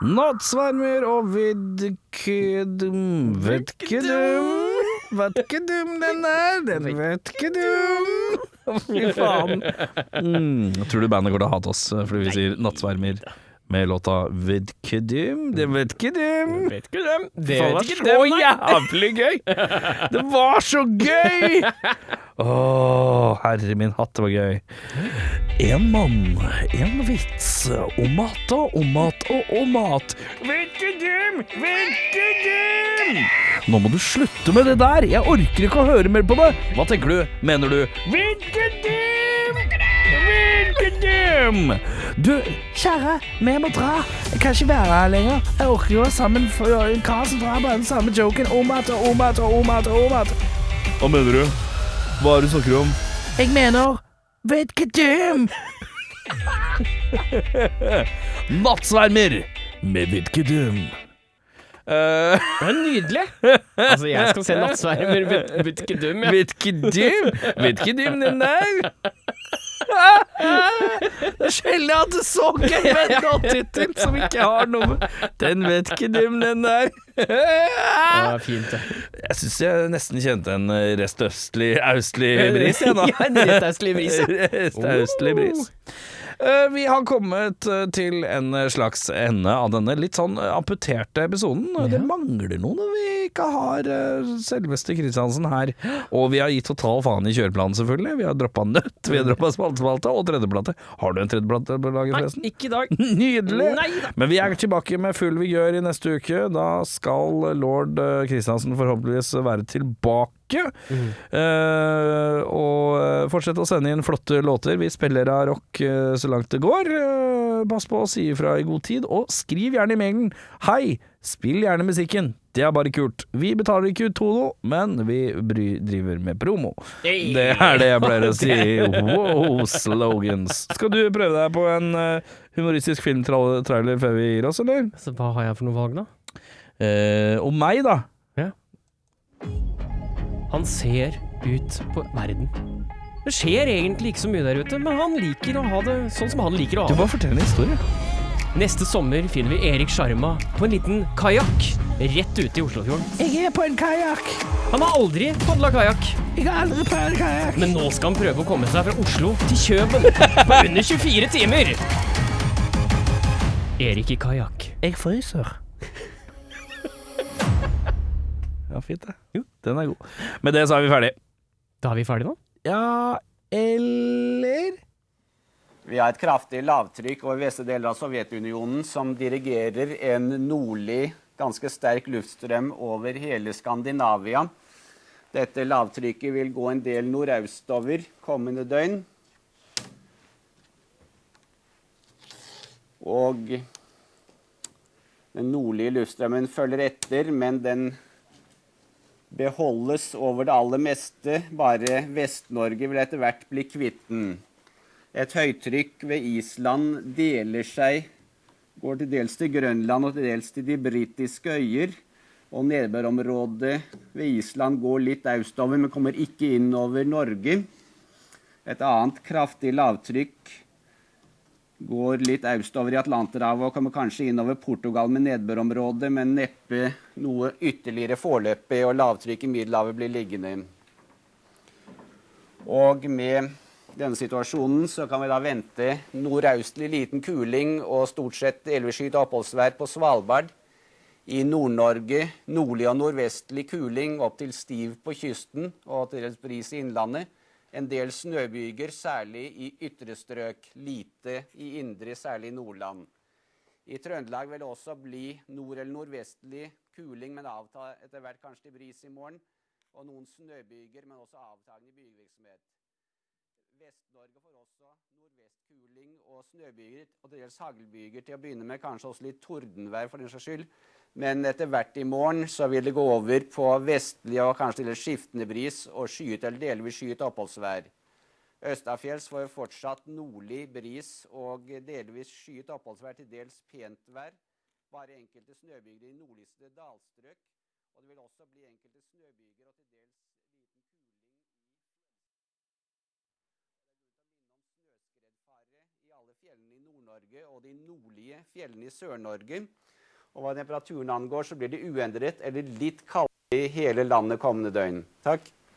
Speaker 1: Nattsvermer og vidkudum Vetkedum Vetkedum den er, den vetkedum Fy faen. Mm, jeg tror du bandet går til å hate oss eh, fordi vi sier nattsvermer med låta Vedkedum Den vetkedum
Speaker 2: Vet ikke dem. Det
Speaker 1: Det var
Speaker 2: vet ikke
Speaker 1: så
Speaker 2: dem, nei.
Speaker 1: jævlig gøy! Det var så gøy! Å, herre min hatt, det var gøy. En mann, en vits, om mat og om mat og om mat. Vinkedum, vinkedum! Nå må du slutte med det der, jeg orker ikke å høre mer på det. Hva tenker du, mener du? Vinkedum! Vinkedum! Du, kjære, vi må dra. Jeg kan ikke være her lenger. Jeg orker ikke å være sammen for Karlsen drar bare den samme joken om at og om at og om at og om at. Hva mener du? Hva er det du snakker om? Jeg mener Vidkedum! Nattsvermer med Vidkedum.
Speaker 2: Det var nydelig. Altså, jeg skal se Nattsvermer, vet, vet ikke dem, jeg.
Speaker 1: Vidkedum? Vidkedum, den der? Det er sjelden jeg har hatt en så gøy vennelåttittel som ikke har noe med Den vet ikke dum, den der.
Speaker 2: Det
Speaker 1: Jeg
Speaker 2: var fint, det.
Speaker 1: syns jeg nesten kjente en restøstlig, austlig bris, jeg, da.
Speaker 2: Ja, en restøstlig bris, ja.
Speaker 1: Restøstlig bris. Oh. Eh, Vi har kommet eh, til en slags ende av denne litt sånn eh, amputerte episoden. Det mangler noe når vi ikke har eh, selveste Kristiansen her. Og vi har gitt total faen i kjøreplanen, selvfølgelig. Vi har droppa nøtt, vi har droppa spaltespalte og tredjeplate. Har du en tredjeplate på laget,
Speaker 2: Nei,
Speaker 1: forresten?
Speaker 2: ikke i dag.
Speaker 1: Nydelig!
Speaker 2: Neida.
Speaker 1: Men vi er tilbake med full vigør i neste uke. Da skal lord eh, Kristiansen forhåpentligvis være tilbake. Eh, og eh, fortsett å sende inn flotte låter. Vi spiller av rock eh, så langt det går. Eh, pass på å si ifra i god tid, og skriv gjerne i mailen 'Hei, spill gjerne musikken'. Det er bare kult. Vi betaler ikke ut Tono, men vi bry, driver med promo.
Speaker 2: Hey.
Speaker 1: Det er det jeg pleier å si. Wow, slogans. Skal du prøve deg på en eh, humoristisk filmtrailer før vi gir oss, eller?
Speaker 2: Så hva har jeg for noe valg, da?
Speaker 1: Eh, om meg, da.
Speaker 2: Han ser ut på verden. Det skjer egentlig ikke så mye der ute, men han liker å ha det sånn som han liker å ha
Speaker 1: Du
Speaker 2: det.
Speaker 1: bare fortell en historie.
Speaker 2: Neste sommer finner vi Erik Sjarma på en liten kajakk rett ute i Oslofjorden.
Speaker 1: Jeg er på en kajakk.
Speaker 2: Han har aldri padla kajakk,
Speaker 1: Jeg har aldri prøvd kajakk.
Speaker 2: men nå skal han prøve å komme seg fra Oslo til Kjøben på under 24 timer! Erik i kajakk.
Speaker 1: Jeg fryser. ja, fint det. Jo, den er god. Med det så er vi ferdig.
Speaker 2: Da er vi ferdige nå?
Speaker 1: Ja, eller
Speaker 4: Vi har et kraftig lavtrykk over vestre deler av Sovjetunionen som dirigerer en nordlig, ganske sterk luftstrøm over hele Skandinavia. Dette lavtrykket vil gå en del nordøstover kommende døgn. Og den nordlige luftstrømmen følger etter, men den beholdes over det aller meste. Bare Vest-Norge vil etter hvert bli kvitt den. Et høytrykk ved Island deler seg, går til dels til Grønland og til dels til de britiske øyer. Og nedbørområdet ved Island går litt østover, men kommer ikke inn over Norge. Et annet kraftig lavtrykk går litt østover i Atlanterhavet og kommer kanskje inn over Portugal med nedbørområdet, men neppe noe ytterligere foreløpig, og lavtrykk i Middelhavet blir liggende. Og med denne situasjonen så kan vi da vente nordaustlig liten kuling og stort sett delvis skyet oppholdsvær på Svalbard. I Nord-Norge nordlig og nordvestlig kuling opp til stiv på kysten og til dels bris i innlandet. En del snøbyger, særlig i ytre strøk. Lite i indre, særlig i Nordland. I Trøndelag vil det også bli nord- eller nordvestlig kuling, men avta etter hvert kanskje til bris i morgen. Og noen snøbyger, men også avtagende bygevirksomhet. Vest-Norge får også nordvestkuling og snøbyger og til dels haglbyger til å begynne med, kanskje også litt tordenvær for den saks skyld. Men etter hvert i morgen så vil det gå over på vestlig og kanskje til dels skiftende bris og skyet eller delvis skyet oppholdsvær. Østafjells får fortsatt nordlig bris og delvis skyet oppholdsvær, til dels pent vær. Bare enkelte snøbyger i nordligste dalstrøk. Og det vil også bli enkelte snøbyger og til dels liten kuling i Det er grunn til å minne om snøskredfare i alle fjellene i Nord-Norge og de nordlige fjellene i Sør-Norge. Og hva temperaturen angår, så blir det uendret eller litt kaldere i hele landet kommende døgn. Takk.